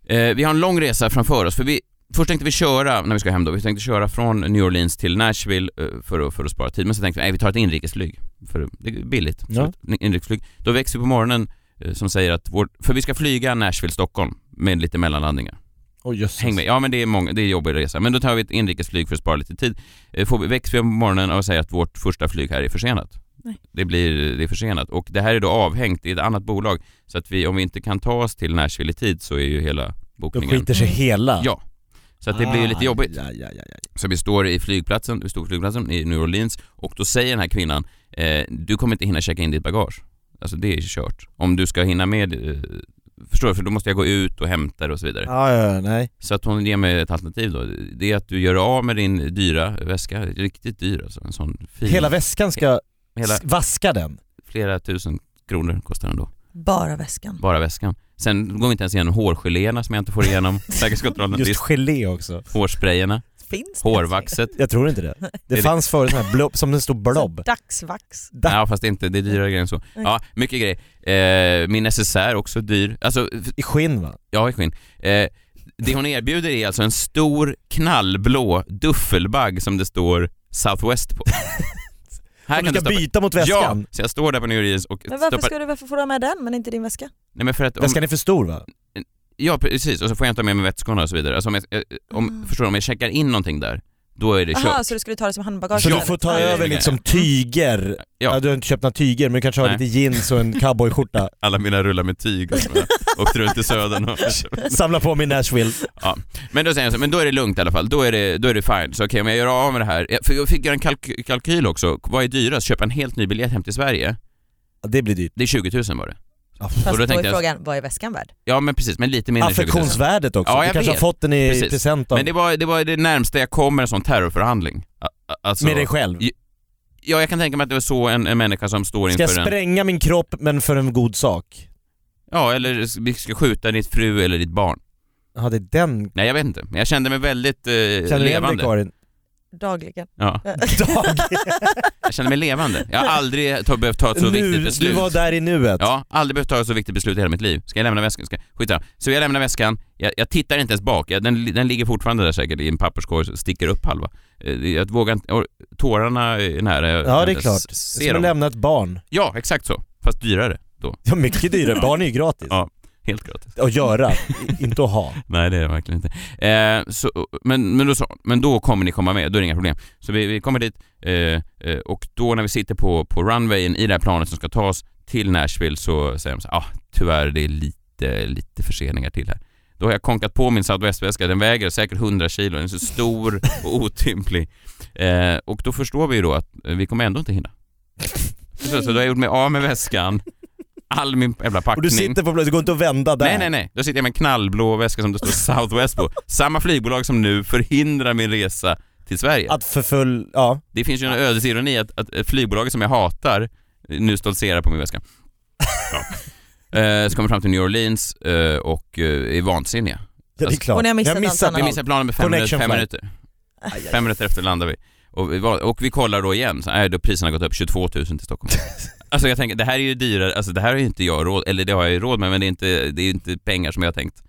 Eh, vi har en lång resa framför oss. För vi, först tänkte vi köra, när vi ska hem då, vi tänkte köra från New Orleans till Nashville eh, för att, för att spara tid. Men så tänkte vi, nej vi tar ett inrikesflyg. För det är billigt. Så Ja. ett Inrikesflyg. Då växer vi på morgonen eh, som säger att vår, för vi ska flyga Nashville-Stockholm med lite mellanlandningar. Oh, jösses. Häng med. Ja men det är, många, det är jobbig resa. Men då tar vi ett inrikesflyg för att spara lite tid. Eh, Får vi, växer vi på morgonen och säger att vårt första flyg här är försenat. Nej. Det blir det är försenat och det här är då avhängt i ett annat bolag. Så att vi, om vi inte kan ta oss till Nashville i tid så är ju hela Då bokningen... skiter sig hela. Ja. Så att det blir ju Ah. lite jobbigt. Ja, ja, ja, ja. Så vi står i flygplatsen, vi står på flygplatsen i New Orleans och då säger den här kvinnan eh, du kommer inte hinna checka in ditt bagage. Alltså det är kört. Om du ska hinna med, eh, förstår du? För då måste jag gå ut och hämta det och så vidare. Ja, ja, ja, nej. Så att hon ger mig ett alternativ då. Det är att du gör av med din dyra väska, riktigt dyr alltså, en sån fin. Hela väskan ska Hela S- Vaska den. flera tusen kronor kostar den då. Bara väskan. Bara väskan. Sen går vi inte ens igenom hårgeléerna som jag inte (laughs) får igenom säkerhetskontrollen. Det Just är gelé också. (laughs) hårsprayerna, Finns det ens? liksom? hårvaxet. Jag tror inte det. Är Det det- fanns förut sån här blob, som en stor blob. Dagsvax. Da- Ja fast inte, det är dyrare grejer Mm. än så. Ja, mycket grejer. Eh, min necessär också dyr. Alltså, f- I skinn va? ja i skinn. Eh, det hon erbjuder är alltså en stor knallblå duffelbag som det står Southwest (laughs) på. Här Om du ska stoppa- byta mot väskan. Ja, så jag står där på New Jeans och Men varför, stoppar... ska du, varför får du ha med den men inte din väska? Nej men för att om... Väskan är för stor va? Ja precis, och så får jag inte ha med mig vätskorna och så vidare. Alltså om jag, eh, om, Mm. Förstår du, om jag checkar in någonting där, då är det kört. Jaha, så du skulle ta det som handbagage? Så Ja. du får ta Ja, över ja. liksom tyger. Ja. Ja. du har inte köpt några tyger men du kanske har Nej. lite jeans och en cowboyskjorta. (laughs) Alla mina rullar med tyg och så (laughs) har jag åkt runt i södern och... Samla på mig Nashville. Men då säger jag så, men då är det lugnt i alla fall, då är det, då är det fine. Så okej, om jag gör av med det här. Ja, För jag fick göra en kalk- kalkyl också, vad är dyrast? Köpa en helt ny biljett hem till Sverige? Ja, Det blir dyrt. Det är 20 000 var det. Fast Och då då är tänkte jag- frågan, vad är väskan värd? Ja men precis, men lite mindre än 20 000. Affektionsvärdet också. Ja, du jag kanske har vet. fått den i Precis. present av, Men det var, det var det närmsta jag kom med en sån terrorförhandling. A- a- Alltså, med dig själv. ja, jag kan tänka mig att det var så en, en människa som står Ska inför jag en... spränga min kropp men för en god sak? Ja, eller vi ska skjuta ditt fru eller ditt barn. Ja det är den. Nej, jag vet inte. Men jag kände mig väldigt eh, Känner du igen dig levande. (laughs) Karin? Dagligen. ja, Dag. jag kände mig levande. Jag har aldrig ta, behövt ta ett så viktigt Nu, du beslut. var där i nuet. Ja, aldrig behövt ta ett så viktigt beslut i hela mitt liv. Ska jag lämna väskan? Ska... Skitsamma. Så jag lämnar väskan, jag, jag tittar inte ens bak. Jag, den, den ligger fortfarande där säkert i en papperskorg, så sticker upp halva. Eh, Jag vågar inte... och Tårarna är nära. Jag Ja kan det är inte klart. s- se Som att dem. lämna ett barn. Ja, exakt så. Fast dyrare då. Ja mycket dyrare, barn är ju gratis. Ja. Helt gratis. Att göra, i- inte att ha. Nej det är det verkligen inte. Eh, så, men, men, då sa, men då kommer ni komma med, då är det inga problem. Så vi, vi kommer dit eh, eh, och då när vi sitter på, på runwayen i det här planet som ska tas till Nashville så säger de så här, ah, tyvärr det är lite, lite förseningar till här. Då har jag konkat på min Southwest-väska, den väger säkert 100 kilo, den är (laughs) så stor och otymplig. Eh, och då förstår vi ju då att eh, vi kommer ändå inte hinna. Så, så då har jag gjort mig av med väskan, all min jävla packning. Och du sitter på det går inte att vända där. Nej, nej, nej. Då sitter jag med en knallblå väska som det står Southwest på. Samma flygbolag som nu förhindrar min resa till Sverige. Att förfull, ja. Det finns ju en ödesironi att, att flygbolaget som jag hatar nu stoltserar på min väska. Ja. Eh, Så kommer jag fram till New Orleans eh, och eh, är vansinniga. Ja, det är Alltså, klart. och ni har missat jag allt Vi annat. allt. missar planen med fem, minuter, Connection fem flight. minuter. Fem minuter efter landar vi. Och vi, var, och vi kollar då igen, så är då priserna har gått upp 22 000 (laughs) till Stockholm. alltså jag tänker, det här är ju dyrare, alltså det här har ju inte jag råd, eller det har jag ju råd med men det är inte, det är ju inte pengar som jag har tänkt eh,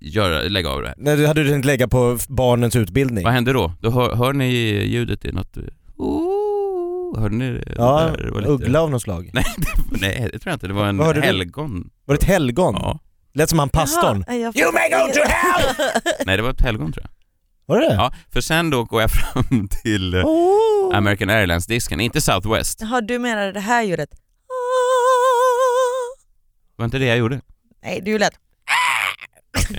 göra, lägga av det här. Nej, du hade du tänkt lägga på f- barnens utbildning. Vad hände då? Då hör, hör ni ljudet i något... eh, Ooh, hörde ni det? Ja, Det där var lite- uggla av något slag. (laughs) Nej, det, nej, det tror jag inte. Det var en Vad hörde du? helgon. Var det ett helgon? Ja. Lät som han pastorn. Jaha, jag- You may go to hell! Nej, det var ett helgon tror jag. Var det det? Ja, för sen då går jag (laughs) fram till eh, Oh. American Airlines-disken, inte Southwest. Jaha, du menar det här ljudet? Var inte det jag gjorde? Nej, du lät...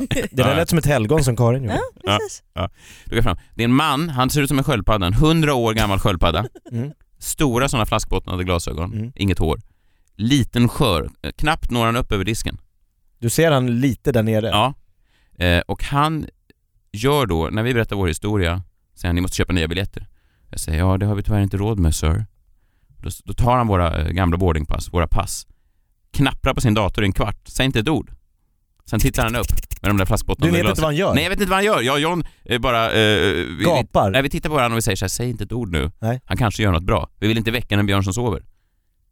Det där Ja. lät som ett helgon som Karin gjorde. Ja, precis. Då går jag fram. Det är en man, han ser ut som en sköldpadda, en 100 år gammal sköldpadda. Mm. Stora sådana flaskbottnade glasögon, Mm. inget hår. Liten skör, Eh, knappt når han upp över disken. Du ser han lite där nere. Ja. Eh, och han gör då, när vi berättar vår historia, säger han ni måste köpa nya biljetter. Jag säger ja, det har vi tyvärr inte råd med sir. Då, då tar han våra eh, gamla boardingpass, våra pass, knapprar på sin dator i en kvart, säger inte ett ord. Sen tittar han upp med de där Du flaskbottnarna vet inte vad han gör? Nej jag vet inte vad han gör. Jag och John eh, bara... Eh, vi, vi, Gapar? nej, vi tittar på varandra och vi säger så här, säg inte ett ord nu. Nej. Han kanske gör något bra. Vi vill inte väcka den björn som sover.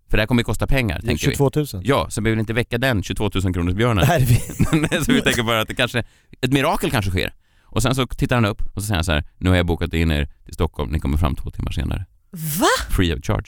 För det här kommer ju kosta pengar, Det är tänker vi. 22 000. Ja, så vi vill inte väcka den 22 000 kronors björnen. Det här är vi. (laughs) Nej, så vi tänker bara att det kanske, ett mirakel kanske sker. Och sen så tittar han upp och så säger han så här, nu har jag bokat in er till Stockholm, ni kommer fram två timmar senare. Va? Free of charge.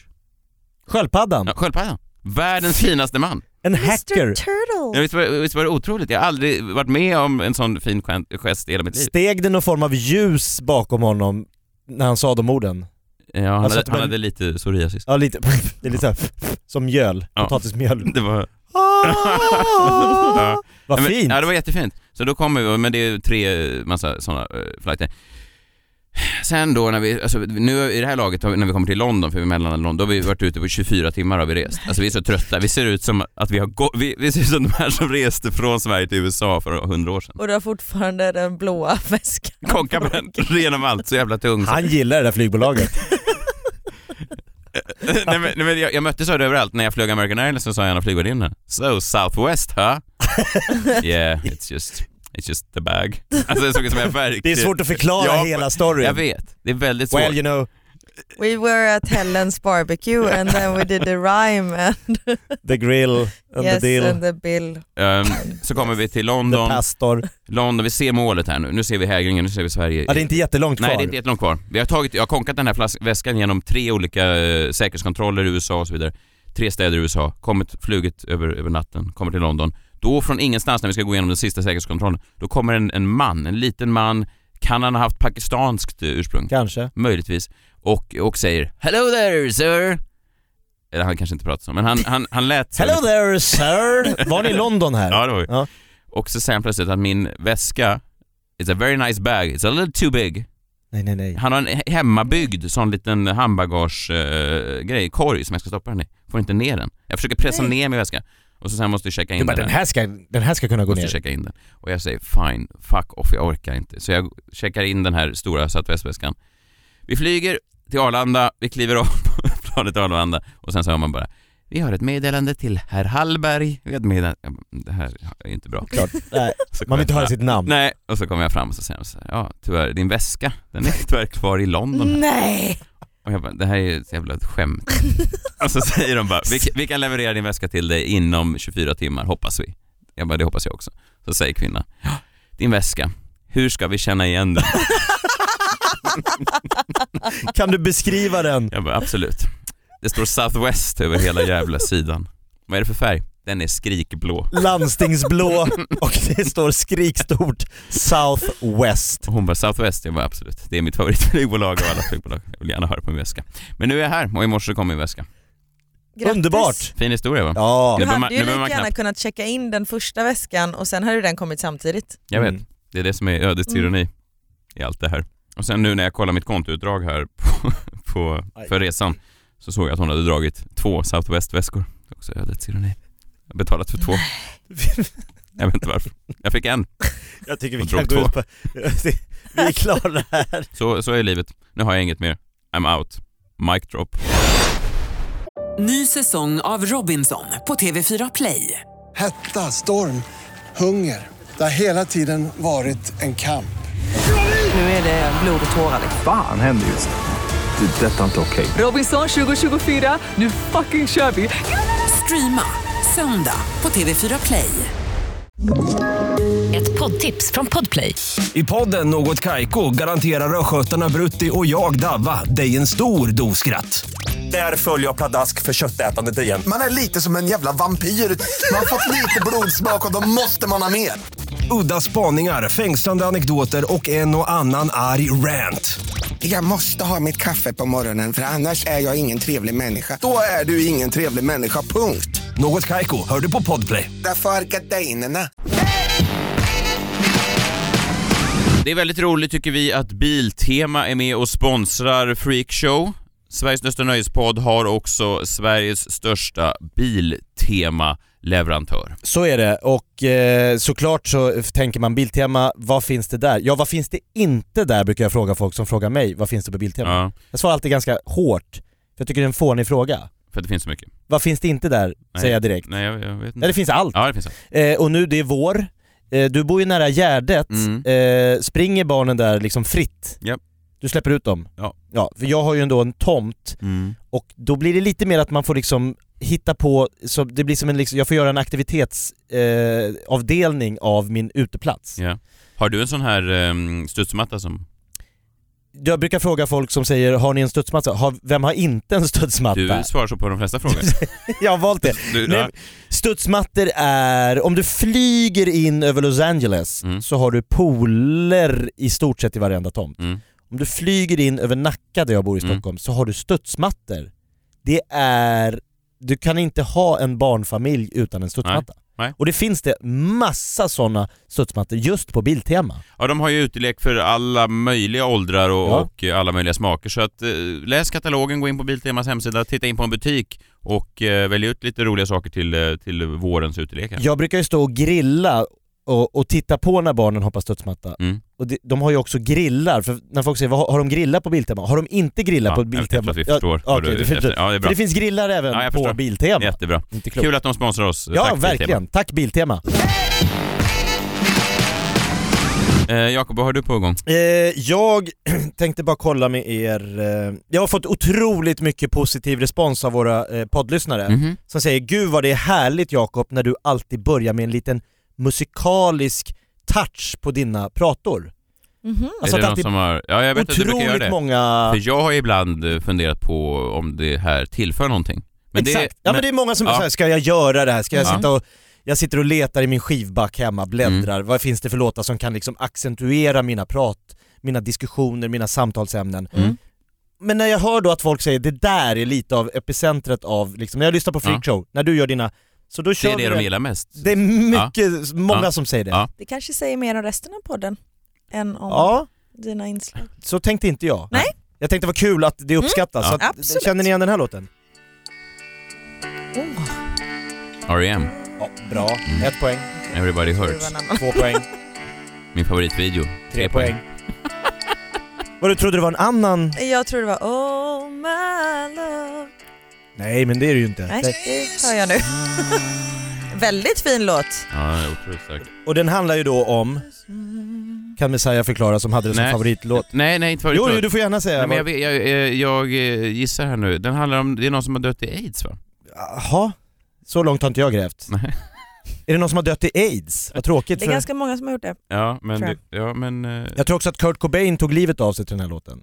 Sköldpaddan? Ja, Sköldpaddan. Världens finaste man. En Mr hacker? Ja, Turtle! visst, var, visst var det otroligt? Jag har aldrig varit med om en sån fin gen- gest i hela mitt liv. Steg det någon form av ljus bakom honom när han sa de orden? Ja, han, Alltså att hade, det han var- hade lite psoriasis. Ja lite, (laughs) det är lite såhär, som mjöl, Ja. (laughs) potatismjöl. Det var... Ah! Ja. Vad Ja, men- fint! Ja, det var jättefint. Så då kommer vi, men det är tre eh, massa sådana eh, flighter. Sen då när vi, alltså nu i det här laget har vi- när vi kommer till London, för vi mellanlandar i London, då har vi varit ute på 24 timmar har vi rest. Alltså vi är så trötta, vi ser ut som att vi har gå, vi, vi ser ut som de här som reste från Sverige till USA för 100 år sedan. Och du har fortfarande den blåa (laughs) väskan. (laughs) Konkar på den genom allt, så jävla tung. Han gillar det där flygbolaget. nej, men, nej, men jag, jag mötte så överallt. När jag flög American Airlines så sa en av flygvärdinnorna “So Southwest, (laughs) huh?” “Yeah, it's just, it's just the bag”. Alltså jag såg det som jag verkligen... Det är svårt att förklara Ja, hela storyn. Jag vet, det är väldigt svårt. Well you know, (laughs) We were at Helen's barbecue and then we did the rhyme and the grill and yes the deal, and the bill. Ehm, så kommer vi till the London. pastor. London, vi ser målet här nu. Nu ser vi hägringen, nu ser vi Sverige. Ja, det är inte jättelångt kvar. Nej, det är inte jättelångt kvar. Vi har tagit, jag har konkat den här flas- väskan genom tre olika eh, säkerhetskontroller i USA och så vidare. Tre städer i USA, kommit, flugit över, över natten, kommer till London. Då från ingenstans när vi ska gå igenom den sista säkerhetskontrollen, då kommer en, en man, en liten man. Kan han ha haft pakistanskt eh, ursprung? Kanske. Möjligtvis. Och, och säger “Hello there sir”. Eller han kanske inte pratar så, men han, han, han lät så. Hello there sir! Var ni i London här? Ja, det var vi. Ja. Och så säger han plötsligt att min väska, it's a very nice bag, it's a little too big. Nej nej nej. Han har en he- hemmabyggd sån liten handbagage-grej, korg som jag ska stoppa den i. Får inte ner den. Jag försöker pressa Nej. ner min väska. Och så sen måste jag checka in Du bara, den här ska, den här ska kunna gå måste ner. jag checka in den. Och jag säger fine, fuck off, jag orkar inte. Så jag checkar in den här stora Southwest-väskan. Vi flyger till Arlanda, vi kliver av (laughs) på planet till Arlanda och sen så hör man bara vi har ett meddelande till herr Hallberg. Vi har ett meddelande. Jag bara, Det här är inte bra. Klart. Nej, Så man vill inte kommer jag höra sitt namn. Nej, och så kommer jag fram och så säger de så här, ja tyvärr, din väska, den är tyvärr kvar i London. Mm. här." Nej! Och jag bara, det här är ju ett jävla skämt. (laughs) och så säger de bara, vi, vi kan leverera din väska till dig inom 24 timmar, hoppas vi. Jag bara, det hoppas jag också. Så säger kvinnan, "Ja, din väska, hur ska vi känna igen den? Kan du beskriva den? Jag bara, absolut. Det står Southwest över hela jävla sidan. Vad är det för färg? Den är skrikblå. Landstingsblå (laughs) och det står skrikstort Southwest. Och hon bara Southwest, jag bara absolut. Det är mitt favoritflygbolag av alla flygbolag. Jag vill gärna höra på min väska. Men nu är jag här och i morse kom min väska. Grattis. Underbart! Fin historia va? Ja, Nu Du behöver man- hade nu ju behöver man lika gärna knappt- kunnat checka in den första väskan och sen hade ju den kommit samtidigt. Jag vet. Mm. Det är det som är ödets ironi i allt det här. Och sen nu när jag kollar mitt kontoutdrag här (laughs) på, på, Aj. för resan så såg jag att hon hade dragit två Southwest-väskor. Det är också ödets ironi. Jag har (laughs) betalat för två. Jag vet inte varför. Jag fick en. Mm. jag tycker vi Jag kan gå drog ut på... Vi är klara här. Så, så är livet. Nu har jag inget mer. I'm out. Mic drop. Ny säsong av Robinson på TV4 Play. Hetta, storm, hunger. Det har hela tiden varit en kamp. Nu är det blod och tårar. Fan händer just det. Det är detta inte okej. Robinson 2024, nu fucking kör vi! Streama söndag på TV4 Play. Ett poddtips från Podplay. I podden Något Kaiko garanterar östgötarna Brutti och jag, Davva, dig en stor dos skratt. Där följer jag pladask för köttätandet igen. Man är lite som en jävla vampyr. Man har fått lite blodsmak och då måste man ha mer. Udda spaningar, fängslande anekdoter och en och annan arg rant. Jag måste ha mitt kaffe på morgonen för annars är jag ingen trevlig människa. Då är du ingen trevlig människa, punkt. Något Kaiko, hör du på Podplay. Därför är gardinerna. Det är väldigt roligt tycker vi att Biltema är med och sponsrar Freakshow. Sveriges största nöjespodd har också Sveriges största Biltema-leverantör. Så är det och eh, såklart så tänker man Biltema, vad finns det där? Ja vad finns det inte där brukar jag fråga folk som frågar mig, vad finns det på Biltema? Ja, Jag svarar alltid ganska hårt, för jag tycker det är en fånig fråga. för det finns så mycket. Vad finns det inte där? Nej. Säger jag direkt. Nej, jag, jag vet Ja inte. det finns allt. Ja, det finns allt. Eh, och nu det är vår, eh, du bor ju nära Gärdet, Mm. eh, springer barnen där liksom fritt? Japp. Du släpper ut dem? Ja. ja. För jag har ju ändå en tomt och då blir det lite mer att man får liksom hitta på, så det blir som en, liksom, jag får göra en aktivitetsavdelning eh, avdelning av min uteplats. Ja. Har du en sån här um, studsmatta som... Jag brukar fråga folk som säger “Har ni en studsmatta?” har, Vem har inte en Du studsmatta? svarar så på de flesta frågor. (laughs) jag har valt det. Du, Nej, ja. Studsmattor är, om du flyger in över Los Angeles Mm. så har du pooler i stort sett i varenda tomt. Mm. Om du flyger in över Nacka där jag bor i Mm. Stockholm så har du studsmattor. Det är, du kan inte ha en barnfamilj utan en studsmatta. Nej. Och det finns det massa sådana studsmattor just på Biltema. ja, de har ju utelek för alla möjliga åldrar och, Ja. och eh, alla möjliga smaker. Så att, eh, läs katalogen, gå in på Biltemas hemsida, titta in på en butik och eh, välj ut lite roliga saker till, eh, till vårens utelekar. Jag brukar ju stå och grilla och, och titta på när barnen hoppar studsmatta. Mm. Och de, de har ju också grillar, för när folk säger "Vad har har de grillar på Biltema? Har de inte grillar Ja, på jag tror Biltema? att vi förstår ja, vad okej, du är det, ute finns, efter. Ja, det är bra. för det finns grillar även Ja, jag på förstår. Biltema. Jättebra. Inte klokt. Kul att de sponsrar oss. Ja, Tack till verkligen. Tack Biltema. Tema. Eh, Jakob, vad har du på gång? Eh, jag (clears throat) tänkte bara kolla med er, eh, jag har fått otroligt mycket positiv respons av våra eh, poddlyssnare Mhm. som säger “Gud vad det är härligt Jakob när du alltid börjar med en liten musikalisk touch på dina prator”. Mhm. Alltså att är det någon alltid som har... Ja, jag vet att du brukar göra otroligt det. många... För jag har ibland eh, funderat på om det här tillför någonting. det- Exakt. ja men det är många som Ja. säger “Ska jag göra det här? Ska jag Ja. sitta och...” Jag sitter och letar i min skivback hemma, bläddrar, Mm. vad finns det för låtar som kan liksom accentuera mina prat, mina diskussioner, mina samtalsämnen. Mm. Men när jag hör då att folk säger det där är lite av epicentret av, liksom, när jag lyssnar på Freakshow, när du gör dina, så då det kör är det vi de gillar mest. Det är mycket, många Ja. som säger det. Ja. Ja. Det kanske säger mer om resten av podden än om dina inslag. så tänkte inte jag. Nej. Mm. Jag tänkte vad kul att det uppskattas. Ja. Så att, Absolut. känner ni igen den här låten? R.E.M. Ja, bra. Ett poäng, E Everybody Det var Hurts. en annan. två poäng, Min favoritvideo. tre poäng. Vad du trodde det var en annan? Jag tror det var Oh my love. Nej men det är det ju inte. Nej, det tar jag nu. (laughs) Väldigt fin låt. Ja, det är otroligt starkt. Och den handlar ju då om, kan Messiah förklara som hade det som Nej. favoritlåt. Nej, nej, inte Jo, favoritvideo. jo, du får gärna säga. Nej, men jag, vet- jag, eh, jag, eh, gissar här nu. Den handlar om, det är någon som har dött i aids va? (laughs) Jaha, så långt har inte jag grävt. Nej. Mm. Är det någon som har dött i AIDS? Vad tråkigt. Det är För... ganska många som har gjort det. Ja, men... Tror Det, jag. ja, men... eh, Jag tror också att Kurt Cobain tog livet av sig till den här låten.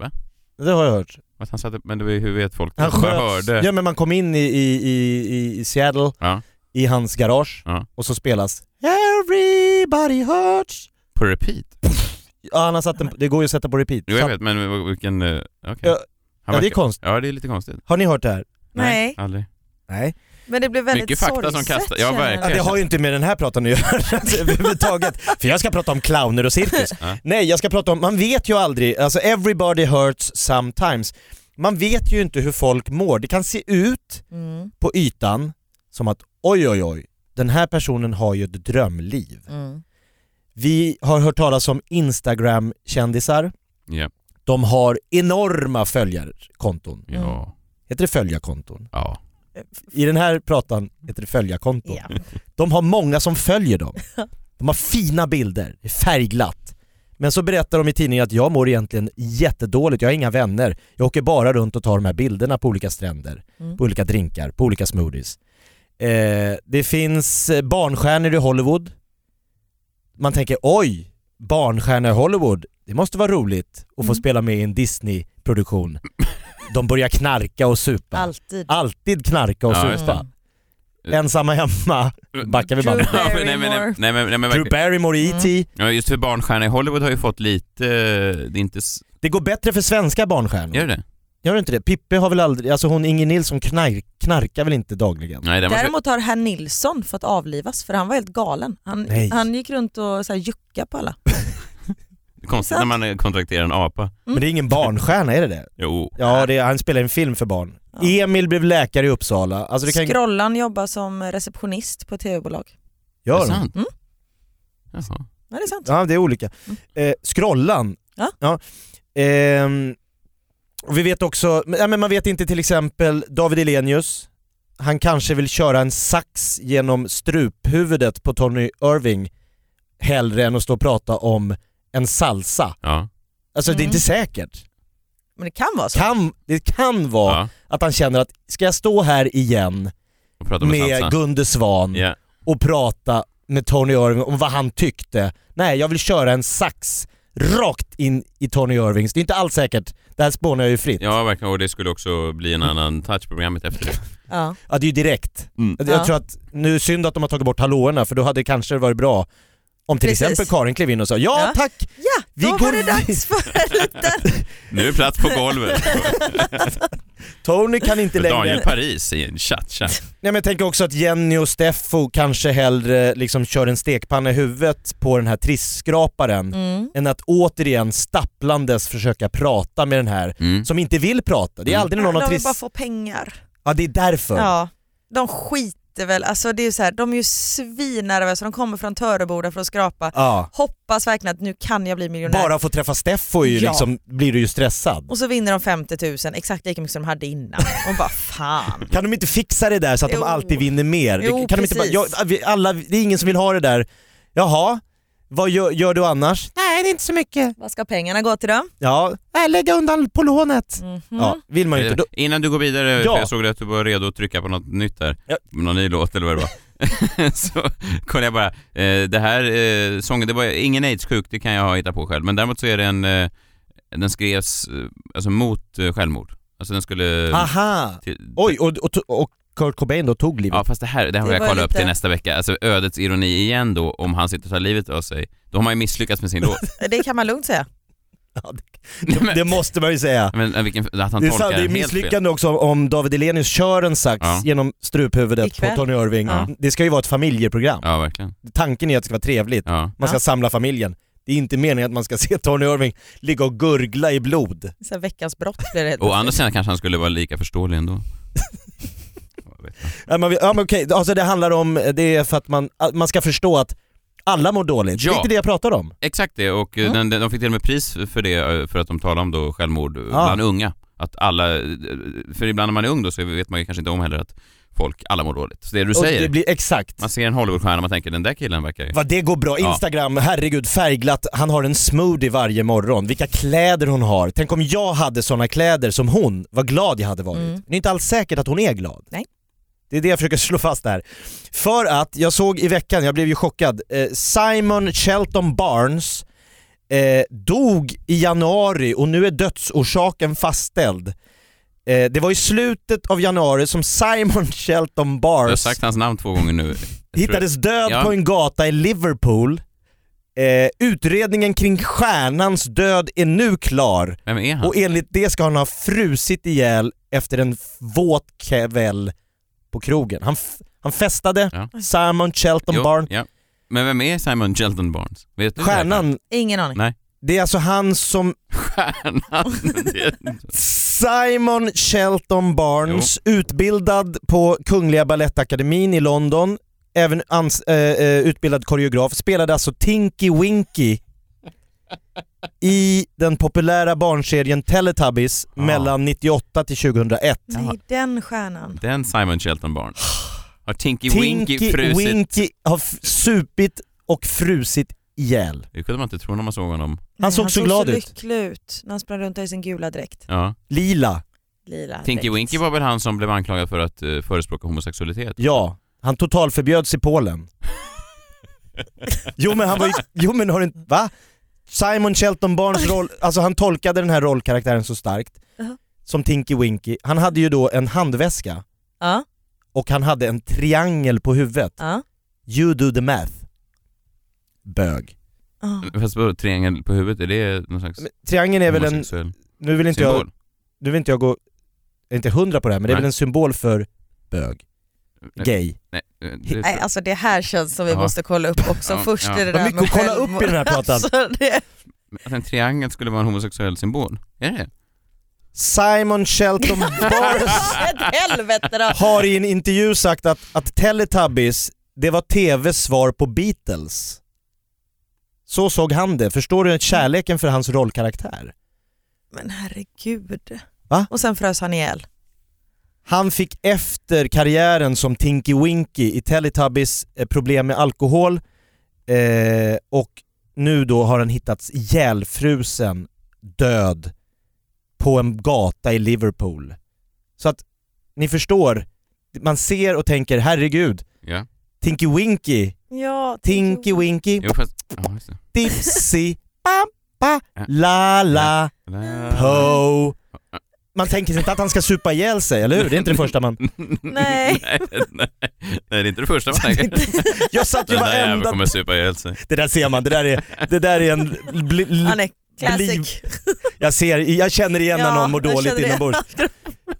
Va? Det har jag hört. Att han satte, men det var ju, hur vet folk? Han Jag sköts. hörde. Ja men man kom in i, i, i, i- i Seattle, Ja. i hans garage, Ja. och så spelas Everybody hurts. På repeat? Ja, han har satt den, det går ju att sätta på repeat. Jo, jag Så- vet, men v- vilken... eh, Okej. Ja, Ja, Han det är verkar- konstigt. Ja, det är lite konstigt. Har ni hört det här? Nej. Aldrig. Nej. Men det blev väldigt Mycket fakta som sorgset. kastas- ja, känner jag. verkligen. Ja, det har ju inte med den här pratan att göra (laughs) överhuvudtaget. För jag ska prata om clowner och cirkus. Ja. Nej, jag ska prata om, man vet ju aldrig, alltså everybody hurts sometimes. Man vet ju inte hur folk mår. Det kan se ut Mm, på ytan som att oj oj oj, den här personen har ju ett drömliv. mm. Vi har hört talas om Instagram-kändisar. Ja. De har enorma följarkonton. Mm. Ja. Heter det följarkonton? Ja. I den här pratan heter det följarkonton. Ja. De har många som följer dem. De har fina bilder, det är färgglatt. Men så berättar de i tidningen att jag mår egentligen jättedåligt, jag har inga vänner. Jag åker bara runt och tar de här bilderna på olika stränder, Mm. på olika drinkar, på olika smoothies. Eh, det finns eh, barnstjärnor i Hollywood. Man tänker oj, barnstjärna i Hollywood, det måste vara roligt att få spela med i en Disney-produktion. De börjar knarka och supa. Alltid. Alltid knarka och Ja, just supa. Ensamma hemma, backar vi bandet. (laughs) Ja, men, nej, men, nej, nej, men, nej, men Drew verkligen. Barrymore i E E.T. Ja, just för barnstjärna i Hollywood har ju fått lite... eh, Det är inte... s- Det går bättre för svenska barnstjärnor. Gör det Gör det inte det? Pippe har väl aldrig, alltså hon Inger Nilsson knark, knarkar väl inte dagligen? Nej, det måste... Däremot har herr Nilsson fått avlivas för han var helt galen. Han, Nej. han gick runt och så här juckade på alla. Konstigt när man eh, kontrakterar en apa. Men det är ingen barnstjärna, är det det? Jo. Ja, det är, han spelar en film för barn. Ja. Emil blev läkare i Uppsala. Alltså det kan ju... Skrollan jobbar som receptionist på ett tv-bolag. Är Gör det hon? sant? Mm. Jaha. Ja, det är sant. Ja, det är olika. Eh, scrollan. Mm. Ja. Ehm, och vi vet också, men, ja, men man vet inte till exempel David Elenius. Han kanske vill köra en sax genom struphuvudet på Tony Irving hellre än att stå och prata om en salsa. Ja. Alltså det är Mm. inte säkert. Men det kan vara så. Kan, det kan vara ja. att han känner att ska jag stå här igen Och prata om en med salsa. Gunde Svan Ja. och prata med Tony Irving om vad han tyckte. Nej, jag vill köra en sax rakt in i Tony Irvings. Det är inte alls säkert. Det här spånar jag ju fritt. Ja, Ja, verkligen. Och det skulle också bli Mm. en annan touch på programmet efter det. Ja. det är ju direkt. Mm. Jag Ja. tror att, nu är synd att de har tagit bort hallåorna för då hade det kanske varit bra om till Precis. exempel Karin klev in och sa ja, Ja. tack, ja, Vi då går var det vid- dags (laughs) för en liten... Nu är plats på golvet. Tony kan inte För längre. Daniel Paris i en cha-cha. Nej men jag tänker också att Jenny och Steffo kanske hellre liksom kör en stekpanna i huvudet på den här trisskraparen Mm. än att återigen stapplandes försöka prata med den här Mm. som inte vill prata. Det är Mm. aldrig någon av de vill triss... bara få pengar. Ja det är därför. Ja. De skiter sitter väl, alltså det är ju så här, de är ju svinnervösa, de kommer från Töreboda för att skrapa. Ja. Hoppas verkligen att nu kan jag bli miljonär. Bara att få träffa Steffo är ju Ja. liksom, blir du ju stressad. Och så vinner de 50 000, exakt lika mycket som de hade innan. Och bara fan. Kan de inte fixa det där så att Jo. de alltid vinner mer? Jo, kan de inte bara, precis. jag, vi- alla, det är ingen som vill ha det där. Jaha, vad gör, gör du annars? Nej, det är inte så mycket. Vad ska pengarna gå till då? Ja, jag lägger undan på lånet. Mhm. Ja, vill man ju inte. Då, Innan du går vidare, Ja. för jag såg att du var redo att trycka på något nytt där, Ja. någon ny låt eller vad det var. (laughs) så kollade jag bara, eh, det här eh, sången, det var ingen aidssjuk, det kan jag ha hittat på själv, men däremot så är det en, eh, den skrevs eh, alltså mot eh, självmord. Alltså den skulle... aha! till- Oj, och, och, och Kurt Cobain då tog livet. Ja fast det här, det här Det har jag var kollat upp lite- till nästa vecka, alltså ödets ironi igen då, om han sitter och tar livet av sig, då har man ju misslyckats med sin låt. Det kan man lugnt säga. Ja, (laughs) det, det måste man ju säga. (laughs) Men eh, vilken, att han Det är, tolkar sant, det är den helt fel. misslyckande också om David Elenius kör en sax Ja. genom struphuvudet Ikväll. på Tony Irving. Ja. Det ska ju vara ett familjeprogram. Ja verkligen. Tanken är att det ska vara trevligt. Ja. Man ska Ja. samla familjen. Det är inte meningen att man ska (laughs) se Tony Irving ligga och gurgla i blod. Så här, veckans brott blir det helt Å andra sidan kanske han skulle vara lika förståelig ändå. Jag vet inte. Ja, men, ja, men okej, alltså det handlar om, det är för att man, att man ska förstå att alla mår dåligt. Ja. Det är inte det jag pratar om. Exakt det, och eh, den, den, de fick till och med pris för det, eh, för att de talade om då självmord eh, Ja. bland unga. Att alla, eh, för ibland när man är ung då så vet man ju kanske inte om heller att folk, alla mår dåligt. Så det du Och det säger, blir exakt. man ser en Hollywoodstjärna och man tänker den där killen verkar ju... Vad det går bra. Ja. Instagram, herregud färgglatt. Han har en smoothie varje morgon. Vilka kläder hon har. Tänk om jag hade såna kläder som hon. Vad glad jag hade varit. Mm. Det är inte alls säkert att hon är glad. Nej. Det är det jag försöker slå fast där. För att jag såg i veckan, jag blev ju chockad, eh, Simon Shelton Barnes eh, dog i januari och nu är dödsorsaken fastställd. Eh, det var i slutet av januari som Simon (laughs) Shelton Jag har Barnes sagt hans namn två gånger nu. Jag tror- hittades död Ja. på en gata i Liverpool. Eh, utredningen kring stjärnans död är nu klar Vem är han? och enligt det ska han ha frusit ihjäl efter en f- våt kväll på krogen. Han, f- han festade, Ja. Simon Shelton Jo, Barnes. Ja. Men vem är Simon Shelton Barnes? Vet du det? Stjärnan, Ingen aning. Nej. det är alltså han som (laughs) Stjärnan! Det- Simon Shelton Barnes, utbildad på Kungliga Balettakademin i London, även ans- eh, eh, utbildad koreograf, spelade alltså Tinky Winky i den populära barnserien Teletubbies Ah. mellan 98 till 2001. Nej, den stjärnan. Den Simon Shelton Barnes. Har Tinky, Winky Tinky frusit? Winky har f- supit och frusit ihjäl. Det kunde man inte tro när man såg honom. Nej, såg så glad ut. lycklig ut när han sprang runt där i sin gula dräkt. Ja. Lila, Lila Tinky dräkt. Winky var väl han som blev anklagad för att eh, förespråka homosexualitet? ja. Han totalförbjöds i Polen. Jo men han var ju, jo men har du inte, va? Simon Shelton Barnes roll, alltså han tolkade den här rollkaraktären så starkt Jaha. som Tinky Winky. Han hade ju då en handväska Ja, och han hade en triangel på huvudet. ja. You do the math. Bög. ja. Fast vadå, triangel på huvudet, är det någon slags Men Triangeln är väl en, homosexuell nu vill inte jag, symbol? nu vill inte jag gå, jag är inte hundra på det här men det är Nej. väl en symbol för bög, gay. Nej, eh, det, Nej, alltså det här känns som vi Ja. måste kolla upp också. Ja, Först ja. är det Vad där mycket med att kolla självmord. upp i den här pratan. Alltså, det... att en triangel skulle vara en homosexuell symbol? Är det det? Simon Shelton Barnes Ett helvete då! har i en intervju sagt att, att Teletubbies, det var TVs svar på Beatles. Så såg han det. Förstår du kärleken för hans rollkaraktär? Men herregud. Va? Och sen frös han ihjäl. Han fick efter karriären som Tinky Winky i Teletubbies eh, problem med alkohol eh, och nu då har han hittats ihjälfrusen, död, på en gata i Liverpool. Så att ni förstår, man ser och tänker herregud, Ja. Tinky Winky Ja, Tinky Winky, Jo fast... Ja, just det. (laughs) Dipsy, Pampa, La La, Po. Man tänker sig inte att han ska supa ihjäl sig, eller hur? Det är inte det första (laughs) man... Nej. nej, nej, det är inte (laughs) det första man tänker. Jag satt ju Den där jäveln varenda... kommer supa ihjäl sig. Det där ser man, det där är, det där är en... bli- (laughs) li- Han är classic. Jag ser, jag känner igen när Ja, någon mår jag dåligt känner det. inombords.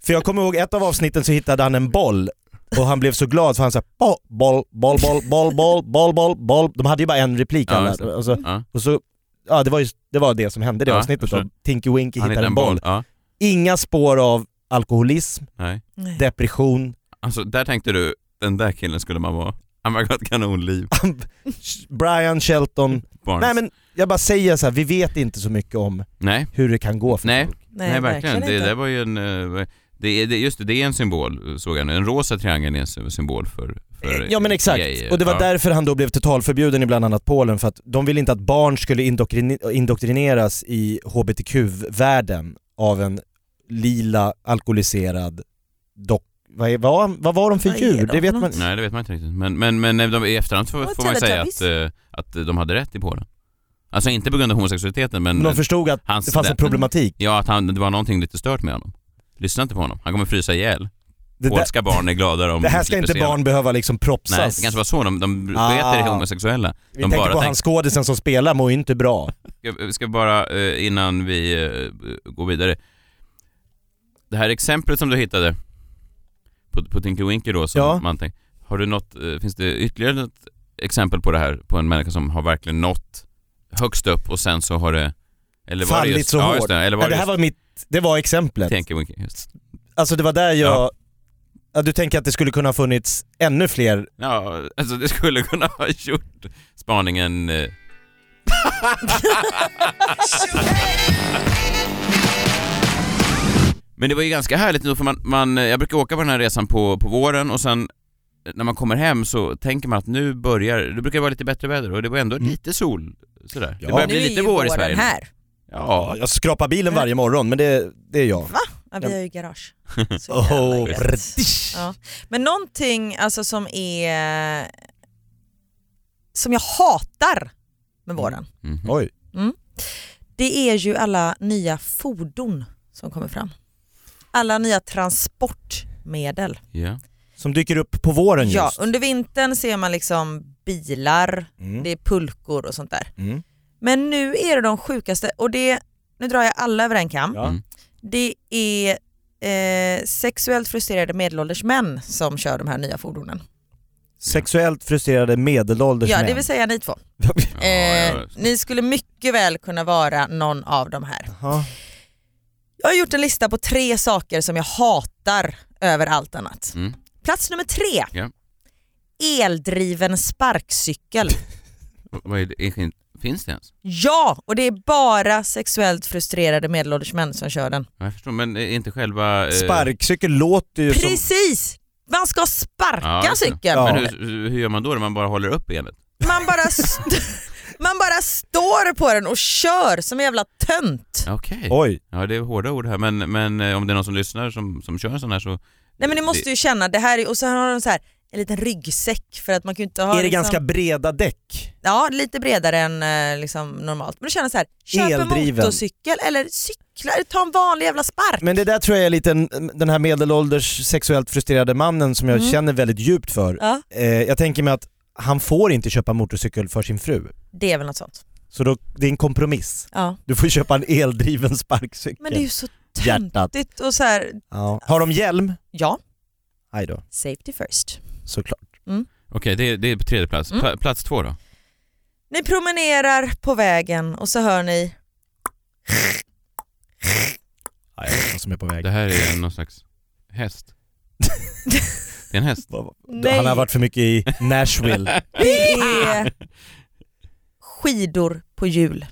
För jag kommer ihåg ett av avsnitten så hittade han en boll och han blev så glad för han sa boll, boll, boll, boll, boll, boll, boll, boll, boll. De hade ju bara en replik Ja, alla. just det. Och så, Ja. och så, ja det var, ju, det var det som hände i det Ja, avsnittet jag då. Tinky Winky Han hittade hittade en boll. Ja, Inga spår av alkoholism, nej. Nej. depression. Alltså där tänkte du, Den där killen skulle man vara. Han verkar ha ett kanonliv. Brian Shelton. Barnes. Nej men jag bara säger så här, vi vet inte så mycket om Nej, hur det kan gå för nej, folk. nej, verkligen. Det inte. där var ju en... eh, Det är, det, just det, det är en symbol såg jag nu. En rosa triangel är en symbol för... för Eh, Ja men exakt, gay- och det var ja. därför han då blev totalförbjuden i bland annat Polen för att de ville inte att barn skulle indoktrini- indoktrineras i hbtq-världen av en lila alkoholiserad dock... Vad, är, vad, vad var de för Vad är djur? de Det vet för man något? Nej det vet man inte riktigt. Men, men, men de, i efterhand får, Och får man ju säga att, Teletubbies. eh, att de hade rätt i Polen. Alltså inte på grund av homosexualiteten men... De förstod att hans, det fanns en problematik. Ja, att han, det var någonting lite stört med honom. Lyssna inte på honom, han kommer frysa ihjäl. Det, där, Polska barn är gladare om det här de ska slipper inte se honom. barn behöva liksom propsas. Nej, det kanske var så de, de Ah. ah. vet det homosexuella. Vi De tänker bara på tänk- han skådisen som spelar mår ju inte bra. Jag jag ska bara eh, innan vi eh, går vidare. Det här exemplet som du hittade på, på Tinky Winky då som Ja. man tänk, har du något, eh, finns det ytterligare något exempel på det här på en människa som har verkligen nått högst upp och sen så har det... Eller var det Fallit just, så ja, hårt. just det, eller var Nej, det, det här var mitt, det var exemplet. just Tinky Winky? Just. Alltså det var där jag... Ja. Ja, du tänker att det skulle kunna ha funnits ännu fler? Ja, alltså det skulle kunna ha gjort spaningen... Eh, Men det var ju ganska härligt nu för man, man, eh, jag brukar åka på den här resan på, på våren och sen eh, när man kommer hem så tänker man att nu börjar, det brukar vara lite bättre väder och det var ändå lite sol sådär. Ja. Det börjar Mm. Nu bli är lite ju vår i våren Sverige. nu. här. Ja, Ja, jag skrapar bilen varje morgon men det, det är jag. Ja, vi har ju garage. (laughs) Så Oh, jävla gött. ja. Men någonting alltså, som är som jag hatar med våren, Mhm. Oj. det är ju alla nya fordon som kommer fram. Alla nya transportmedel. ja. Som dyker upp på våren Ja, just. under vintern ser man liksom bilar, Mm. det är pulkor och sånt där. Mm. Men nu är det de sjukaste och det, nu drar jag alla över en kam. Ja. Mm. Det är eh, sexuellt frustrerade medelålders män som kör de här nya fordonen. Sexuellt frustrerade medelålders Ja, män. (laughs) det vill säga ni två. Ja, Eh, ja, ni skulle mycket väl kunna vara någon av de här. Jaha. Jag har gjort en lista på tre saker som jag hatar över allt annat. Mm. Plats nummer tre. Ja. Eldriven sparkcykel. Vad är det? Finns det ens? Ja, och det är bara sexuellt frustrerade medelålders män som kör den. Ja, jag förstår, men eh, inte själva... eh, Sparkcykel låter ju som... Precis! Man ska sparka Ja, just det. cykeln. Ja. Men hur, hur gör man då? Man bara håller upp benet? Man, bara (laughs) st- man bara står på den och kör som en jävla tönt. Okej. Oj, Ja, det är hårda ord här, men, men eh, om det är någon som lyssnar som, som kör en sån här så... Nej men ni måste ju känna, det här är, och så har de så här en liten ryggsäck för att man kan ju inte ha är det liksom, ganska breda däck? Ja, lite bredare än eh, liksom, normalt. Men du känner så här, köp en Eldriven. motorcykel eller cykla, eller ta en vanlig jävla spark. Men det där tror jag är lite en- den här medelålders sexuellt frustrerade mannen som jag Mm. känner väldigt djupt för. Ja, Eh, jag tänker mig att han får inte köpa motorcykel för sin fru. det är väl något sånt. Så då, det är en kompromiss. Ja. Du får köpa en eldriven sparkcykel. Men det är ju så Hjärtat. töntigt och så här, ja. Har de hjälm? ja, Nej då, safety first. såklart. Okej, det, det är på tredje plats. Mm. Pla, plats två då? Ni promenerar på vägen och så hör ni, Nej, jag vet vad som är på väg. Det här är någon slags (laughs) häst. det är en häst. Vad- Nej. Han har varit för mycket i (laughs) Nashville. det Ah. är skidor på hjul.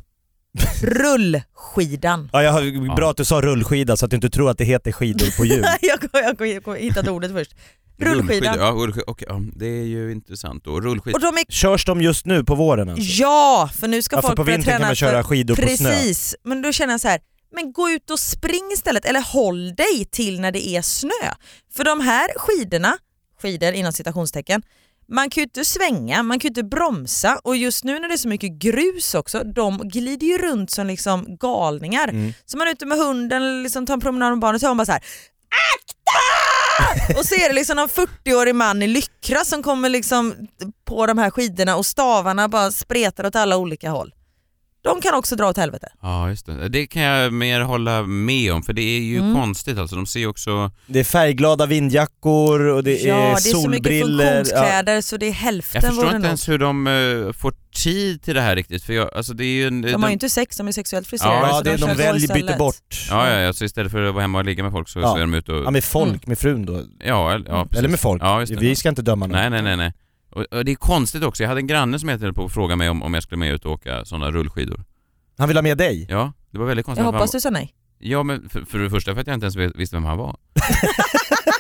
Rullskidan. ja, jag har, bra att du sa rullskida så att du inte tror att det heter skidor på jul. (laughs) jag jag, jag, jag, jag hittade ordet först. Rullskidan. Ja, rullskidor. Okej, ja, det är ju intressant då. Rullskidor. Och de är, Körs de just nu på våren? Alltså? ja, för nu ska Ja, för folk på börja vintern träna. kan man köra skidor för, på snö. precis, men då känner jag så här, men gå ut och spring istället eller håll dig till när det är snö. För de här skidorna, skidor inom citationstecken, man kan ju inte svänga, man kan ju inte bromsa och just nu när det är så mycket grus också, de glider ju runt som liksom galningar. Mm. Så man är ute med hunden eller liksom tar en promenad med barnet så hör man bara så här Akta! Och så är det liksom någon 40-årig man i lyckra som kommer liksom på de här skidorna och stavarna bara spretar åt alla olika håll. De kan också dra åt helvete. Ja, just det. Det kan jag mer hålla med om, för det är ju Mm. konstigt alltså. De ser ju också... Det är färgglada vindjackor och det ja, är det är så mycket solbriller. Ja. funktionskläder så det är Jag hälften förstår vore inte nog. ens hur de eh, får tid till det här riktigt, för jag, alltså det är ju... En, De har ju inte sex, de är sexuellt friserade. Ja, Ja, så det, kör de så väljer, istället. byter bort. Ja, ja, alltså istället för att vara hemma och ligga med folk så, Ja. så är de ute och... Ja, med Mm. folk, med frun då. Ja, eller- ja precis. Eller med folk. Ja, just det. Vi ska inte döma någon. Nej, nej, nej. nej. Och, och det är konstigt också. Jag hade en granne som hette på och frågade mig om, om jag skulle med ut och åka sådana rullskidor. Han vill ha med (laughs) dig. Ja, det var väldigt konstigt. Jag att han hoppas var- du sa nej. Ja, men för, för det första för att jag inte ens vet- visste vem han (laughs) var.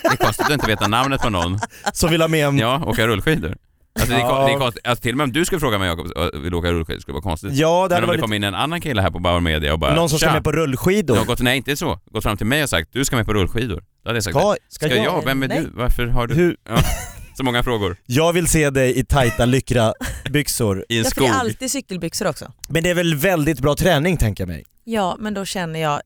det är konstigt att inte veta namnet på någon. Som vill ha med en... Ja. Ja, åka rullskidor. Alltså, det är, kon- Ja. det är konstigt. Alltså, till och med om du skulle fråga mig Jakob, ö, vill du åka rullskidor? Det skulle vara konstigt. det men hade om det varit kom in en annan kille här på Bauer Media och bara någon som ska "Tja." med på rullskidor. Ja, gått, nej, inte så. Gått fram till mig och sagt du ska med på rullskidor. Då hade jag sagt Ska, ska, ska jag? jag? Vem är Nej. du? Varför har du? Hur, Ja. Så många frågor. jag vill se dig i tajta (laughs) lycra-byxor. I en Därför det skog. är alltid cykelbyxor också. Men det är väl väldigt bra träning tänker jag mig. Ja, men då känner jag,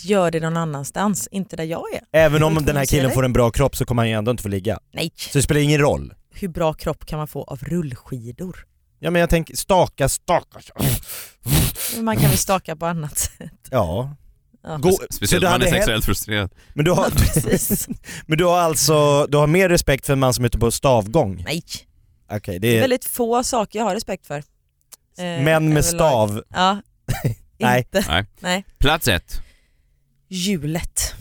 gör det någon annanstans, inte där jag är. Även Jag om vet den vad här du säger killen dig. får en bra kropp så kommer han ju ändå inte få ligga. Nej. Så det spelar ingen roll. Hur bra kropp kan man få av rullskidor? Ja men jag tänker staka, staka. (laughs) Man kan väl staka på annat sätt. Ja. Ja. Gå- så Speciellt du om man är hade sexuellt hell- frustrerad. Men du (laughs) har, Precis. men du har alltså, du har mer respekt för en man som är ute på stavgång? Nej, Okej, det det är är väldigt få saker jag har respekt för. Eh, Eh, män överlag. med stav. Ja. Nej. Inte. Nej. Nej. Plats ett. Hjulet.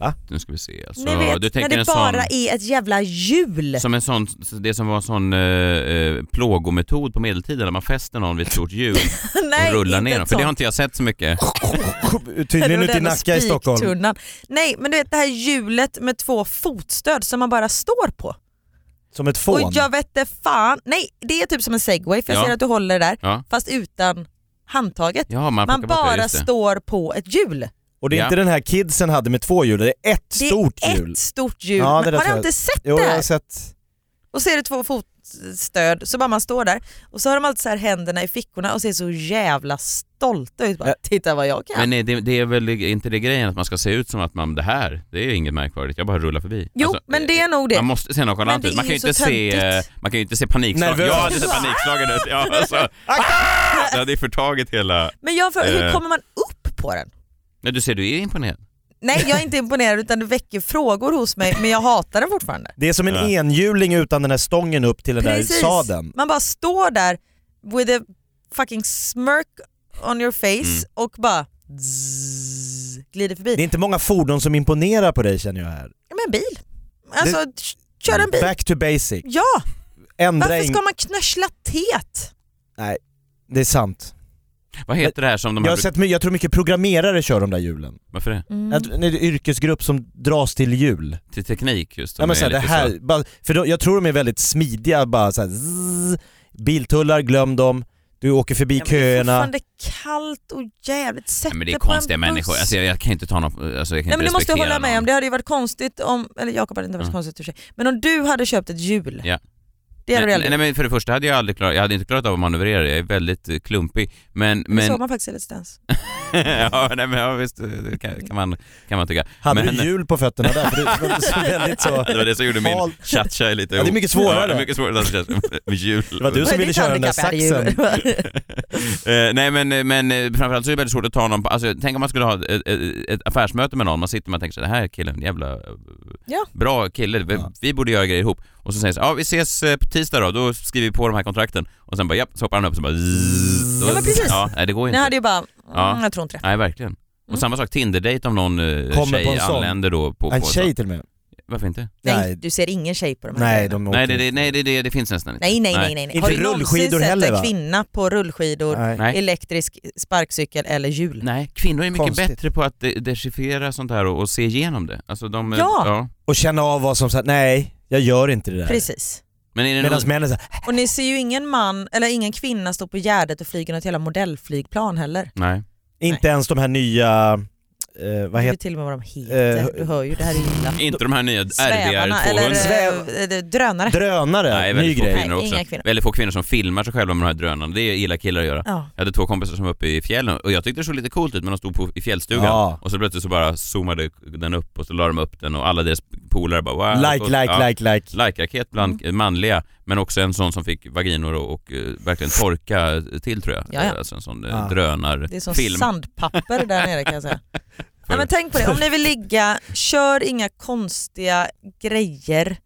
Va? Nu ska vi se. Alltså, Ni vet, du när tänker det en sån, bara är ett jävla hjul. som en sån, det som var en sån eh, eh, plågometod på medeltiden när man fäster någon vid ett stort hjul och (laughs) (laughs) Nej, rullar inte ner ett dem. För det sånt. har inte jag sett så mycket. Tydligen ute i Den och Nacka i Stockholm. spiktunnan. Nej, men du vet det här hjulet med två fotstöd som man bara står på. Som ett fån. Och jag vet inte fan. Nej, det är typ som en segway för jag Ja. ser att du håller där, Ja. fast utan handtaget. Ja, man, Man plockar bort det, bara just det. står på ett hjul. Och det är Ja. inte den här kidsen hade med två hjul, det är ett Det är stort ett hjul. stort hjul. Ja, det men där har tror jag jag. inte sett Jo, det jag har här? sett. Och så är det två fotstöd, så bara man står där. Och så har de alltid så här händerna i fickorna och ser så jävla stolta ut. Bara, Ja. Titta vad jag kan. Men nej, det, det är väl inte det grejen att man ska se ut som att man, det här, det är ju inget märkvärdigt, jag bara rullar förbi. jo, Alltså, men eh, det är nog det. Man måste se nonchalant Men det ut. Man kan är ju ju inte så se, eh, töntigt. man kan ju inte se panikslagen. Nervös. Jag hade sett panikslagen (laughs) ut. Ja, alltså, (laughs) det hade ju förtagit hela... Men jag för, hur Eh. kommer man upp på den? Nej, du ser, du är imponerad. Nej jag är inte imponerad utan du väcker frågor hos mig men jag hatar den fortfarande. Det är som en Ja. enhjuling utan den här stången upp till den där Precis. sadeln. Man bara står där with a fucking smirk on your face Mm. och bara zzz, glider förbi. Det är inte många fordon som imponerar på dig känner jag här. Ja, Men en bil. Alltså k- kör en bil. Back to basic. Ja, Ändra varför in... ska man knöschla teet? Det är sant. Vad heter det här som de Jag, här... har sett, my- jag tror mycket programmerare kör de där hjulen. Varför det? Mm. Att- Det är en yrkesgrupp som dras till hjul. Till teknik just. som Ja, men är så här, det lite här, så. bara, för då, jag tror de är väldigt smidiga, bara så här, zzz, biltullar, glöm dem, du åker förbi Ja, men Det är köerna. fortfarande kallt och jävligt. Sätt Nej, men det dig är på en konstiga buss. människor. Alltså, jag, jag kan inte ta någon... Alltså, jag kan Nej, men inte det måste jag respektera hålla med någon. om. Det hade ju varit konstigt om, eller Jakob hade inte varit Ja. konstigt i och för sig, men om du hade köpt ett hjul. Ja. Det hade du nej, aldrig nej, men för det första hade jag aldrig klarat, jag hade inte klarat av att manövrera, jag är väldigt eh, klumpig. Men, Det (laughs) såg men, man faktiskt i Let's Dance. ja, nej, men ja, visst, eh, det kan, kan, man, kan man tycka. Hade men, du hjul på fötterna där? För det var (laughs) så väldigt så... Det var det som gjorde min Halt. cha-cha lite Ja, det är ihop. mycket svårare. Ja, det är mycket svårare att cha-cha med jul. Det var du som Vad är ville ditt köra den där handikapp? Jag hade saxen. (laughs) hjul. Eh, nej men, men eh, framförallt så är det väldigt svårt att ta någon på, alltså, tänk om man skulle ha ett, ett, ett affärsmöte med någon, man sitter och tänker så här, det här är killen, jävla eh, Ja. bra kille, vi, Ja. vi borde göra grejer ihop. Och så säger så här, ja vi ses eh, på tisdag då, då skriver vi på de här kontrakten. Och sen bara, japp, så hoppar han upp och så bara zzz, Ja, men precis. Ja, nej det går Ni inte. hade ju bara, mm, Ja. jag tror inte det. Nej verkligen. Och Mm. samma sak, Tinder-date om någon eh, Kommer på tjej en sån. anländer då på... på En tjej till och med. Varför inte? Nej. Nej. du ser ingen tjej på de här Nej, grejerna. de åker Nej, det, det, nej det, det, det finns nästan inte. nej, nej, nej, nej, nej. Inte Har du någonsin rullskidor sett heller, en va? kvinna på rullskidor, Nej. Nej. elektrisk sparkcykel eller hjul? Nej, kvinnor är mycket Konstigt. bättre på att de- dechiffrera sånt här och, och se igenom det. Alltså de... eh, Ja. ja. Och känna av vad som, så här, nej, jag gör inte det där. Precis. Men är det Medan någon- männen säger Och ni ser ju ingen man, eller ingen kvinna stå på Gärdet och flyga något jävla modellflygplan heller. Nej. inte ens de här nya, eh, vad Jag heter vet till och med vad de heter. Eh, du hör ju, det här är illa. Inte de här nya Svävarna RDR 200. eller Sväv- eh, eh, drönare. Drönare, Nej, ny väldigt få grej. kvinnor Nej, också. inga kvinnor. Väldigt få kvinnor som filmar sig själva med de här drönarna. Det är illa killar att göra. Ja. Jag hade två kompisar som var uppe i fjällen och jag tyckte det såg lite coolt ut men de stod på, i fjällstugan Ja. och så plötsligt så bara zoomade den upp och så la de upp den och alla deras polare bara wow. Like, Och- like, like, like. Mm. Like-raket bland manliga Men också en sån som fick vaginor och, och eh, verkligen torka eh, till tror jag. Ja, ja. Alltså en sån Ja. ah. drönarfilm. Det är som sandpapper där nere kan jag säga. Nej, men tänk på det, om ni vill ligga, kör inga konstiga grejer.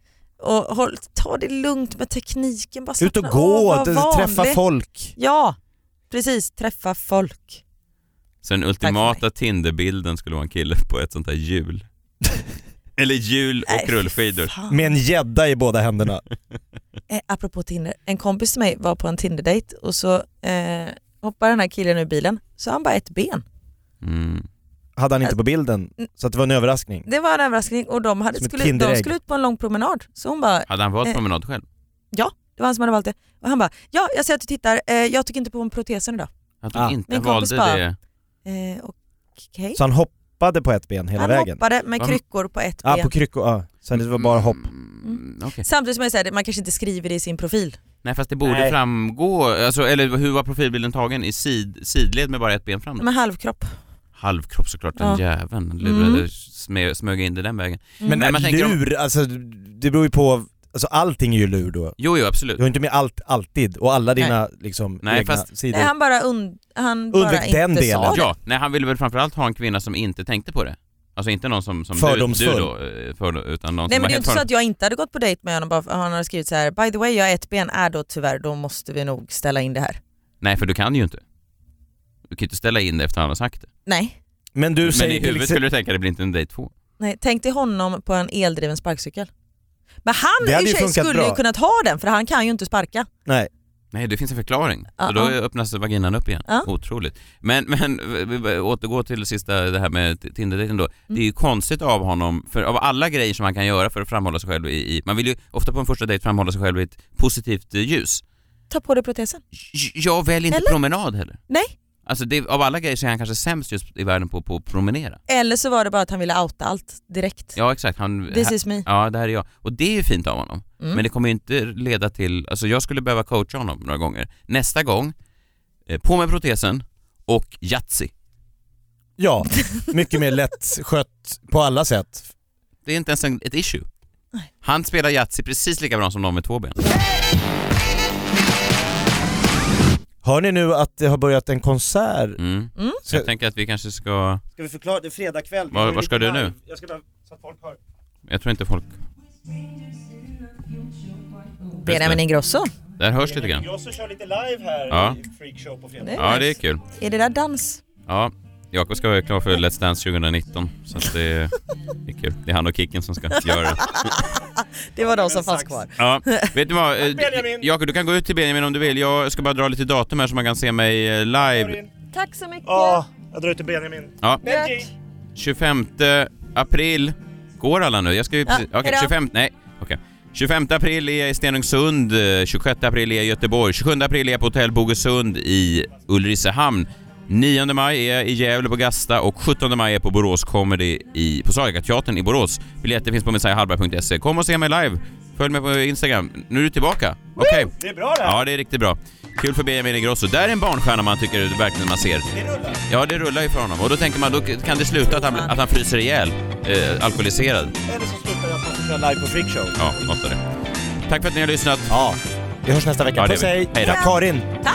Och håll, ta det lugnt med tekniken. Bara Ut och slappna gå, av, var träffa vanlig. folk. Ja, precis. Träffa folk. Så den ultimata Tinderbilden skulle vara en kille på ett sånt här (laughs) hjul. Eller hjul Nej, och rullskidor. fy fan. Med en gädda i båda händerna. Eh, apropå Tinder, en kompis till mig var på en Tinder-dejt och så eh, hoppar den här killen ur bilen så har han bara ett ben. Mm. Hade han inte på bilden, så att det var en överraskning. Det var en överraskning och de, hade, Som ett skulle, de Tinderägg. skulle ut på en lång promenad så hon bara Hade han valt Eh. promenad själv? Det var han som hade valt det. Och han bara, ja jag ser att du tittar, eh, jag tycker inte på en protesen idag. Han tror Ah. inte Min kompis valde bara, det. Eh, Okej. Så han hoppade på ett ben hela Han vägen? hoppade med Va? kryckor på ett Ja, Ah, ben. på kryckor, ja. Så det var bara hopp. Mm, okej. Samtidigt som jag säger, det, man kanske inte skriver det i sin profil. Nej fast det borde Nej. framgå, alltså, eller hur var profilbilden tagen? I sid, sidled med bara ett ben fram? Med halvkropp. Halvkropp såklart, den Mm. Ja. jäveln lurade, Mm. smö, smög in det den vägen. Mm. Nej, Men man tänker om- lur, alltså det beror ju på, alltså allting är ju lur då. Jo, jo absolut. Du har inte med allt, alltid, och alla dina liksom Nej, egna fast- sidor. Nej, han bara, und, han bara Undvek inte den delen. sa det. Ja, nej han ville väl framförallt ha en kvinna som inte tänkte på det. Alltså inte någon som, som du, Fördomsfull. du då, eh, för, utan någon som Nej men det är helt ju inte så fördomsfull. att jag inte hade gått på dejt med honom bara för han hade skrivit så här: by the way jag har ett ben, är då tyvärr då måste vi nog ställa in det här. Nej för du kan ju inte. Du kan ju inte ställa in det efter han har sagt det. Nej. Men du Men säger i till huvudet exempel, skulle du tänka det blir inte en dejt två. Nej, tänk dig honom på en eldriven sparkcykel. Men han Det i och hade ju för sig funkat skulle ju bra. kunnat ha den för han kan ju inte sparka. nej, Nej det finns en förklaring. Så Ja, då ja. öppnas vaginan upp igen. Ja. Otroligt. Men, men vi- vi- vi återgår till det sista det här med t- Tinderdejten Mm. då. Det är ju konstigt av honom, för av alla grejer som han kan göra för att framhålla sig själv i, i man vill ju ofta på en första dejt framhålla sig själv i ett positivt eh, ljus. Ta på dig protesen. J- Jag väljer inte Eller? promenad heller. Nej. Alltså det, av alla grejer så är han kanske sämst just i världen på på att promenera. Eller så var det bara att han ville outa allt direkt. Ja exakt, han... This här- is me. ja, det här är jag. Och det är ju fint av honom. Mm. Men det kommer ju inte leda till... Alltså jag skulle behöva coacha honom några gånger. Nästa gång, eh, på med protesen och Yatzy. ja, mycket mer lättskött på alla sätt. Det är inte ens en, ett issue. Han spelar Yatzy precis lika bra som de med två ben. Hör ni nu att det har börjat en konsert? Mm. Så jag tänker att vi kanske ska... Ska vi förklara? Det är fredag kväll. Var- var ska du nu? Jag ska bara, så att folk hör. Jag tror inte folk... Benjamin Ingrosso. Där hörs lite grann. Jag ska köra lite live här Ja. i Freakshow på fredag. Det är Ja, nice. det är kul. Är det där dans? Ja, Jakob ska vara klar för Let's Dance 2019. Så att det, är, det är kul. Det är han och Kicken som ska göra det. Det var de som fanns kvar. Ja, vet du vad? eh, Jakob, du kan gå ut till Benjamin om du vill. Jag ska bara dra lite datum här så man kan se mig eh, live. Tack så mycket. jag drar ut till Benjamin. Ja, Tack. 25 april. Går alla nu? Jag ska ju Ja, precis... Okej, hejdå. 25... Nej, okej. 25 april är jag i Stenungsund, eh, 26 april är jag i Göteborg, 27 april är jag på Hotell Bogesund i Ulricehamn. 9 maj är jag i Gävle på Gasta och 17 maj är jag på Borås Comedy i, på Sagagateatern i Borås. Biljetter finns på messiahallberg.se. Kom och se mig live. Följ mig på Instagram. Nu är du tillbaka. Okej. Det är bra det här. Ja, det är riktigt bra. Kul för Benjamin Ingrosso. Där är en barnstjärna man tycker verkligen man ser. Ja, det rullar ju för honom. Och då tänker man, då kan det sluta att han, att han fryser ihjäl, eh, alkoholiserad. Eller så slutar jag på Köra live på Freakshow. Ja, något av det. Tack för att ni har lyssnat. Ja, vi hörs nästa vecka. Ja, det Puss gör vi. hej! Hej då. Karin! Tack.